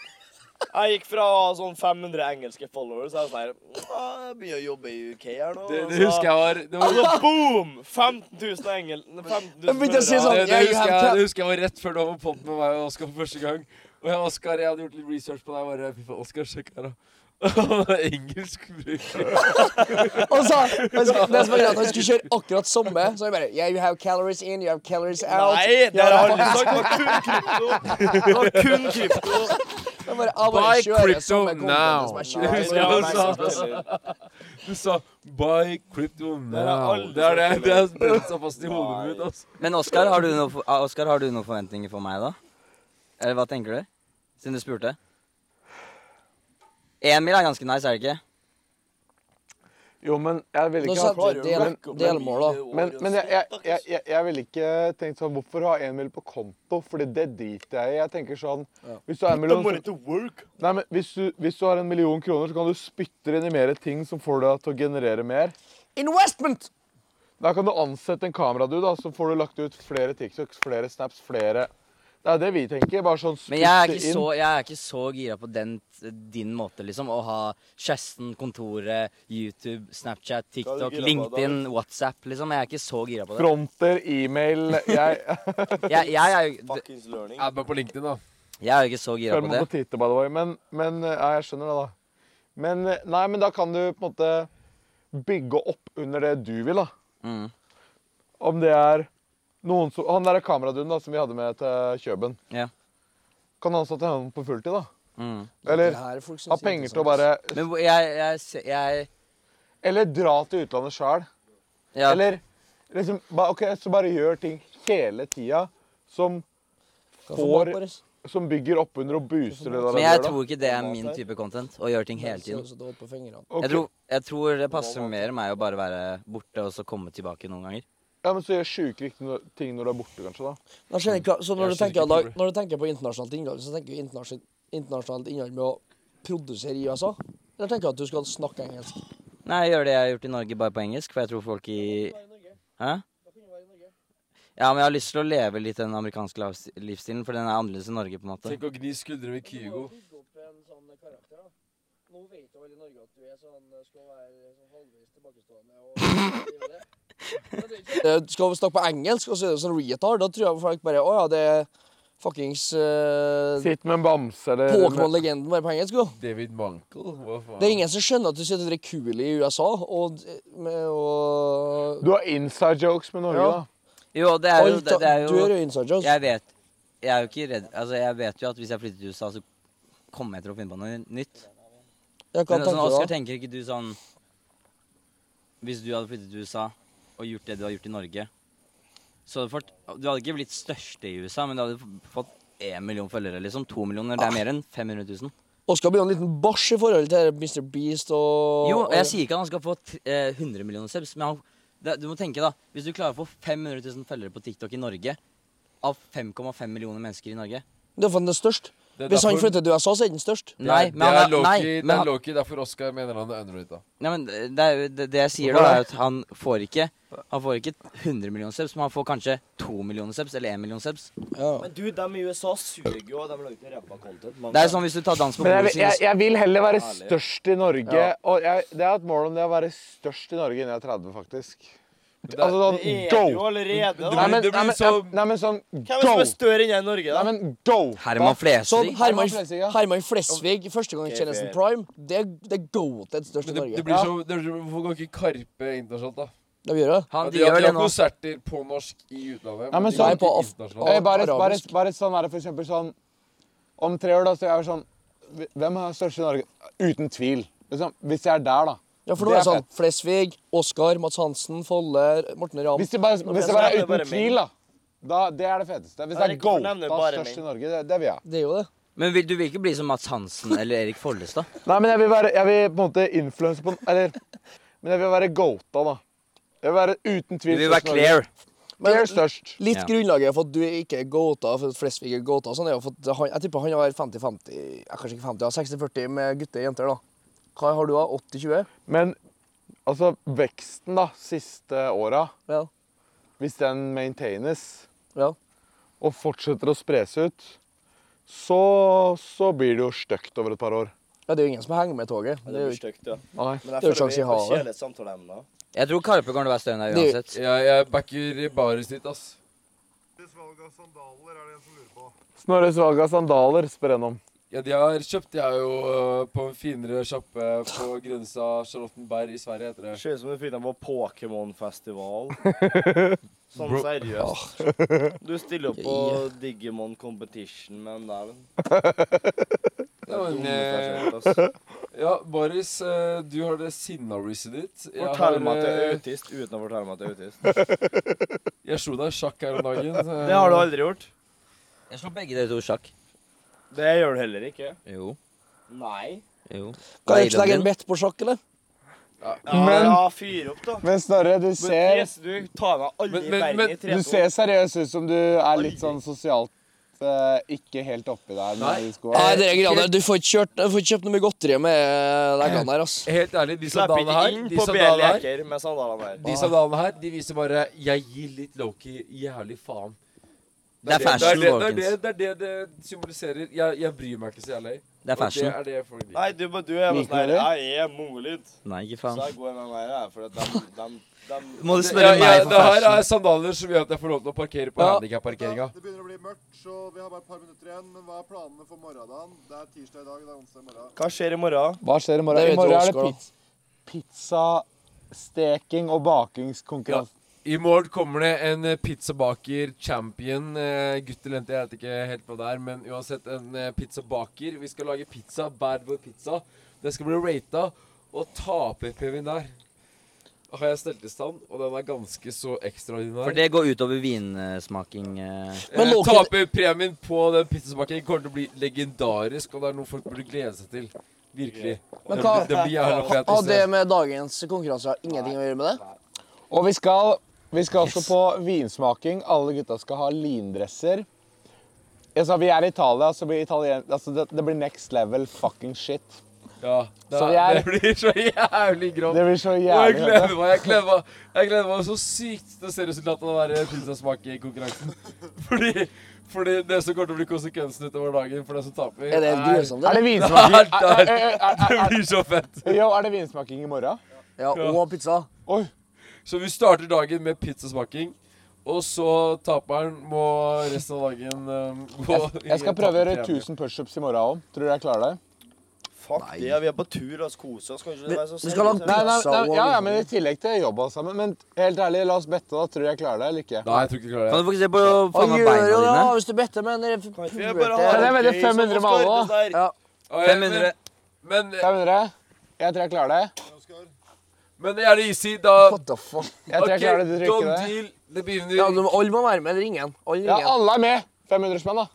Jeg gikk fra sånn 500 engelske followers, så er jeg sånn her, «Ah, jeg begynner å jobbe i UK her nå.
Det,
og
det
så-
husker jeg var det var,
Og så boom! 15 000 engel... 15 000
Jeg begynte å si sånn,
det,
følgere.
det,
Jeg
husker
har
jeg,
tatt-
det husker jeg var rett før du var på poden med meg og Oskar for første gang. Og jeg, Oskar, jeg hadde gjort litt research på deg. og bare, fy faen, Oskar, sjekk her, da. (laughs) Han er engelsk bruker.
Og så, han
(laughs)
skulle- det som var greit, han skulle kjøre akkurat samme, så jeg bare Yeah, you have calories in, you have calories out.
Nei, det har jeg aldri sagt. Det var kun krypto. Det var kun krypto.
Jeg bare, jeg bare
Buy
kjører
crypto
samme content
now.
som jeg kjører.
Nei,
på
det
Amazon.
var
altså.
Du sa 'buy crypto now'.
aldri
Det er sånn. det,
sagt
det er brent seg fast i hodet mitt. altså.
Men Oskar, har, du noe for- ah, Oskar, har du noen forventninger for meg, da? Eller hva tenker du? Siden du spurte. Emil er ganske nice, er det ikke?
Jo, men jeg ville
Nå
ikke
setter du del, delmål, da.
Men, men jeg, jeg, jeg, jeg, jeg ville ikke tenkt sånn Hvorfor ha en mil på konto? Fordi det driter jeg i. Jeg tenker sånn Hvis du har en million så- Nei, men hvis du, hvis du har en million kroner, så kan du spytte inn i mer ting som får deg til å generere mer.
Investment!
Da kan du ansette en kamera, du, da, så får du lagt ut flere TikToks, flere snaps, flere Det er det vi tenker. Bare sånn
Men jeg er,
spytte
ikke
inn.
så, jeg er ikke så gira på den, din måte, liksom. Å ha kjæresten, kontoret, YouTube, Snapchat,
gira
TikTok,
på,
LinkedIn, WhatsApp, liksom. Jeg er ikke så gira på det.
Fronter,
(laughs)
e-mail Jeg
Jeg, jeg, er, jo,
Fuckings learning.
Abba på LinkedIn, da.
jeg er jo ikke så gira
følger
på
meg
det.
på Twitter, by the way. Men, men eh, ja, jeg skjønner det, da. Men eh, nei, men da kan du på en måte bygge opp under det du vil, da.
Mm.
Om det er noen som Han derre kameraduden da, som vi hadde med til Kjøben.
Ja.
Kan han stå til hånden på fulltid, da?
Mm.
Eller
Det her er folk som
ha
sier
penger
sånn.
til å bare
Men hvor- jeg, jeg, se- jeg
Eller dra til utlandet sjøl.
ja.
Eller liksom ba, OK, så bare gjør ting hele tida som
Hva
får-
mat, Boris?
som bygger opp under og booster det der.
Men
han
jeg
gjør, da.
tror ikke det er min type content, å gjøre ting hele tiden.
Så- så det holdt på fingrene.
Ok,
Jeg tror, jeg tror det passer mer meg å bare være borte og så komme tilbake noen ganger.
Ja, men Så gjør sjuke riktige ting når du er borte, kanskje. da.
Nå skjønner jeg hva- så når, du
Jeg skjønner
tenker,
ikke
da, når du tenker på internasjonalt innhold, så tenker du internasjonalt, internasjonalt innhold med å produsere i USA? Eller tenker du at du skal snakke engelsk?
Nei, jeg gjør det jeg har gjort i Norge, bare på engelsk, for jeg tror folk i Hæ? Ja, men jeg har lyst til å leve litt den amerikanske lavs- livsstilen, for den er annerledes i Norge, på en måte.
Tenk å gni skuldrene med Kygo.
sånn Nå vet jo alle i Norge at du er sånn, skal være halvveis tilbakestående
(laughs)
og Skal vi snakke på engelsk, og så er det sånn retard, da tror jeg folk bare Å ja, det er fuckings eh,
Sitt med en bamse eller
Pokémon-legenden bare på engelsk, jo.
David Mankel. Hva faen?
Det er ingen som skjønner at du sitter og drikker Cooley i USA, og, med, og
Du har inside jokes med Norge,
Ja.
da.
Jo, det er jo,
Alt,
det, det er
Du er
jo
jo inside jokes.
Jeg vet Jeg er jo ikke redd Altså, jeg vet jo at hvis jeg flytter til USA, så kommer jeg til å finne på noe nytt.
Jeg kan
Men sånn,
tenke
Oskar,
det.
tenker ikke du sånn Hvis du hadde flyttet til USA og gjort det du har gjort i Norge så hadde du, fått, du hadde ikke blitt største i USA, men du hadde f- fått én million følgere. liksom. To
Ah.
millioner, det er mer enn 500 000.
Oskar blir jo en liten bæsj i forhold til Mr. Beast og
Jo, og jeg
og-
sier ikke at han skal få t eh, 100 millioner subs, men han, det, du må tenke, da. Hvis du klarer å få 500 000 følgere på TikTok i Norge, av 5,5 millioner mennesker i Norge
Det er for den er størst.
Det er
Hvis han
derfor-
flytter til USA, så er den størst.
Det er-
Nei, men han
det er
er,
Loki,
nei,
det
men
er
han,
Loki, derfor Oscar mener han er underrated.
nei, men det, er, jo- det, det jeg sier, da, er at han får ikke Han får ikke 100 millioner subs, men han får kanskje 2 millioner subs eller 1 million subs.
Ja.
Men du, dem i USA suger jo, og de lager ikke ræva content. mange.
Det er sånn hvis du tar dans på
Men
bordet
jeg, jeg, jeg vil heller være
Ærlig.
størst i Norge. Og jeg, det er et mål om det å være størst i Norge innen jeg er 30, faktisk.
Det er-
Altså sånn
Det er du jo
go! Nei,
allerede, da.
men,
det blir
nei, men,
så-
nei, men sånn
Hvem er det
go!
som er større enn jeg i Norge,
Nei,
da?
men go!
Herman
Sånn
Flesvig.
Herman,
Herman Flesvig, ja.
Herman Flesvig, første gang i
Ok,
Tjenesten
fair.
Prime, det, det er goated størst i
Men det, det
Norge.
blir
Ja.
så, det, er- Hvorfor kan ikke Karpe internasjonalt, da?
Det gjør det.
Han,
de,
de
har-
gjør
de
det
har
nå.
konserter på norsk i utlandet.
Ja, men
de
så-
går
Nei, på
ikke
af-
internasjonalt.
Hey, Eh, bare, bare,
Arabisk.
bare sånn er det for eksempel sånn Om tre år, da, så er jeg sånn Hvem er størst i Norge? Uten tvil. Liksom, hvis jeg er der, da.
Ja, for nå
Det
er
er
det sånn Flesvig, Oskar, Mats Hansen, Folle, Morten Ramm
Hvis det bare, hvis det bare
det
er
er bare
uten tvil, da. da. Det er det feteste. Hvis det er
Erik,
go,
hvorfor
da
nevner du bare
størst
menn?
i Norge. Det, det vil jeg.
Det er jo det.
Men vil, du vil ikke bli som Mats Hansen eller Erik Follestad?
Nei, men jeg vil være Jeg vil på en måte influense på Eller Men jeg vil være goata, da. Jeg vil være uten
Du
tvil
vil være
størst i Norge.
clear.
Clear størst.
Litt
Ja.
grunnlaget for at du ikke er goata, for at Flesvig er goata, og sånn er jo for at han, jeg tipper han har 50-50, ja, kanskje ikke 50, ja, 60-40 med gutter og jenter, da. Hva har du da? 80-20?
Men altså, veksten, da, siste åra,
Ja.
hvis den maintaines
ja.
og fortsetter å spres ut, så, så blir det jo støkt over et par år.
Ja, det er jo ingen som henger med toget.
Ja,
Det er jo
blir stygt, ja.
Nei.
Men jeg
Det er jo
føler
sjans i
vi har
havet.
kjedelige samtaleemner.
Jeg tror Karpe kommer til å være større enn deg
Det-
uansett.
Jeg, jeg backer bare snitt, ass.
Valg av sandaler er det en som lurer på.
Snorres valg av sandaler spør en om.
Ja, de har kjøpt jeg jo øh, på en finere sjappe på grensa Charlottenberg i Sverige, heter det.
Ser ut som det fikk dem på
(laughs)
Pokémon-festival. Sånn
Bro.
seriøst.
Ah.
Du stiller opp på
(laughs)
Digimon Competition med den der.
Ja, men, eh,
(laughs)
Fortell
ja Boris, øh, du har det sinna-riset ditt. Jeg, har,
meg at jeg
eh,
er
øh,
autist uten å fortelle meg at jeg
(laughs)
er autist.
jeg slo deg i sjakk her om
(laughs)
dagen. eh,
Det har du aldri gjort.
Jeg slår begge dere to sjakk.
Det gjør du heller ikke.
Jo.
Nei.
Jo.
Kan jeg ikke legge en bet på sjakk, eller?
Ja,
Men-
ja fyr opp, da.
Men Snorre, du
Men
ser,
Therese, du tar meg aldri
Men-
i
men-
verden i
men-
du
tre to.
ser seriøs ut som du er litt sånn sosialt eh, ikke helt oppi der.
Nei.
Med de skoene.
Nei, det er greia der. Du får ikke, kjørt, du får ikke kjøpt noe mye godteri med eh, de greiene der, ass.
Helt ærlig, de
Slipper
sandalene
ikke
her,
inn
de
på E
sandalene her,
B-leker med sandalene her.
de sandalene her, de viser bare Jeg gir litt Loki jævlig faen.
Det er fashion,
det, det,
folkens.
er det, det er det det symboliserer. Jeg, jeg bryr meg ikke så jævlig.
Det er fashion.
Og det er det folk liker.
Nei, du, men du er bare
Liker
sånn her
du det?
Jeg er mongolid.
Nei, ikke
Så
faen.
jeg går med meg her, for at de, de,
(laughs)
de
Må du
Det-
spørre
ja, ja,
meg for
Det her er
fashion?
sandaler som gjør at jeg får lov til å parkere på
Ja.
handikapparkeringa.
Det begynner å bli mørkt, så vi har bare et par minutter igjen. Men hva er planene for morgendagen? Det er tirsdag i dag, det er onsdag i morgen.
Hva skjer i morgen?
Hva skjer i morgen?
Det vet
I morgen er
Oskar,
det
da.
pizza, pizzasteking og bakingskonkurranse.
I morgen kommer det en eh, pizzabaker champion. eh, Gutt eller jente, jeg vet ikke helt hva det er, men uansett en eh, pizzabaker. Vi skal lage pizza, Bad Boy Pizza. Den skal bli rata, og taperpremien der har jeg stelt i stand, og den er ganske så ekstraordinær.
For det går utover vinsmaking. eh.
Eh,
Men Loke-
Taperpremien på den pizzabakingen kommer til å bli legendarisk, og det er noe folk burde glede seg til. Virkelig.
Men
Det
hva-
blir- det blir jævla altså. fet.
Har
hvis
det
det-
med dagens konkurranse har ingenting å gjøre med det?
Og vi skal, vi skal også på vinsmaking. Alle gutta skal ha lindresser. Altså, vi er i Italia, så blir italien... Altså, det, det blir next level fucking shit.
Ja, det,
Så vi er-
(laughs) det blir så jævlig grått.
Det blir så
Og jeg
jævlig
gleder meg jeg gleder meg, jeg gleder meg så sykt til å se resultatet av den pizzasmakekonkurransen. (laughs) Fordi, fordi det som kommer til å bli konsekvensen utover dagen for den som taper
Er det helt grusomt? det?
Er det vinsmaking?
er, er, Det blir så fett.
Jo, er det vinsmaking i morgen?
Ja, og pizza.
Så vi starter dagen med pizzasmaking. Og så taperen må resten av dagen um, gå
Jeg, jeg skal prøve å gjøre 1000 pushups i morgen òg. Tror du jeg klarer det?
Fuck det, vi er på tur og koser oss. Kanskje
Vi-
det er så
vi skal ha en-
seriøst?
Nei, nei, nei,
Pizza og-
ja, ja, men I tillegg til jobb og sammen. Men helt ærlig, la oss bette. da. Tror du jeg klarer det eller ikke?
Nei, jeg tror ikke du klarer
Kan
det.
du fokusere på faen
Han
meg
gjør
beina
jo det,
dine?
ja, hvis du bedte, men det er
Vi er bare
Ja, det er veldig
gøy som
500 med
Oscar,
alle, da.
det der.
Ja.
Og jeg-
500.
Men, men,
500? Jeg tror jeg klarer det.
men er det easy, da
What the fuck?
Jeg tror jeg klarer det. Du tror
Don
ikke det?
Deal, det
Ja,
begynner
du, alle må være med, eller ingen. Alle
Ja,
eller ingen.
alle er med. 500 spenn, da.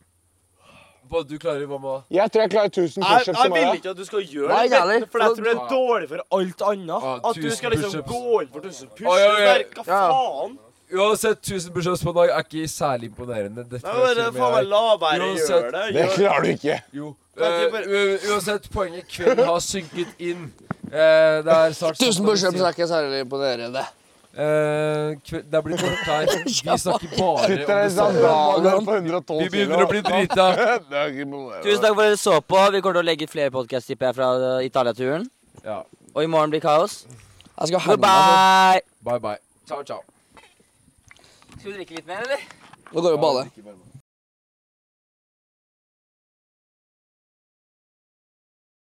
Hva du klarer, mamma.
Jeg tror jeg klarer 1000
Jeg,
pushups i
jeg vil
morgen.
ikke at du skal gjøre
Nei,
det,
ikke heller.
for jeg tror det er dårlig for alt annet.
Ah,
At du skal
1000
liksom
pushups.
gå inn for 1000
Ah, ja,
pushups
ja.
der. Hva
Ja.
faen?
Uansett, 1000 pushups på en dag er ikke særlig imponerende. Dette
Nei, bare
vet til og
faen meg
med jeg.
la være å
Uansett.
gjøre det.
Det
Gjør-
klarer du ikke.
Jo.
Kan ikke
Eh, u- uansett, poenget kvelden har synket inn. Eh, det er snart
1000 pushups er ikke særlig imponerende.
Eh, kve- Det blir mørkt her. Vi snakker bare om
Sitter der
det
i
samme.
sandaler på 112
Vi begynner å
(laughs)
bli drita.
Tusen takk for at dere så på. Vi kommer til å legge flere podkast, tipper jeg, fra eh, Italia-turen.
Ja.
Og i morgen blir kaos.
Jeg skal altså. henge meg.
Bye,
Goodbye!
bye. Ciao, ciao.
Skal vi drikke litt mer, eller?
Nå går vi og bader.
Ikke bare-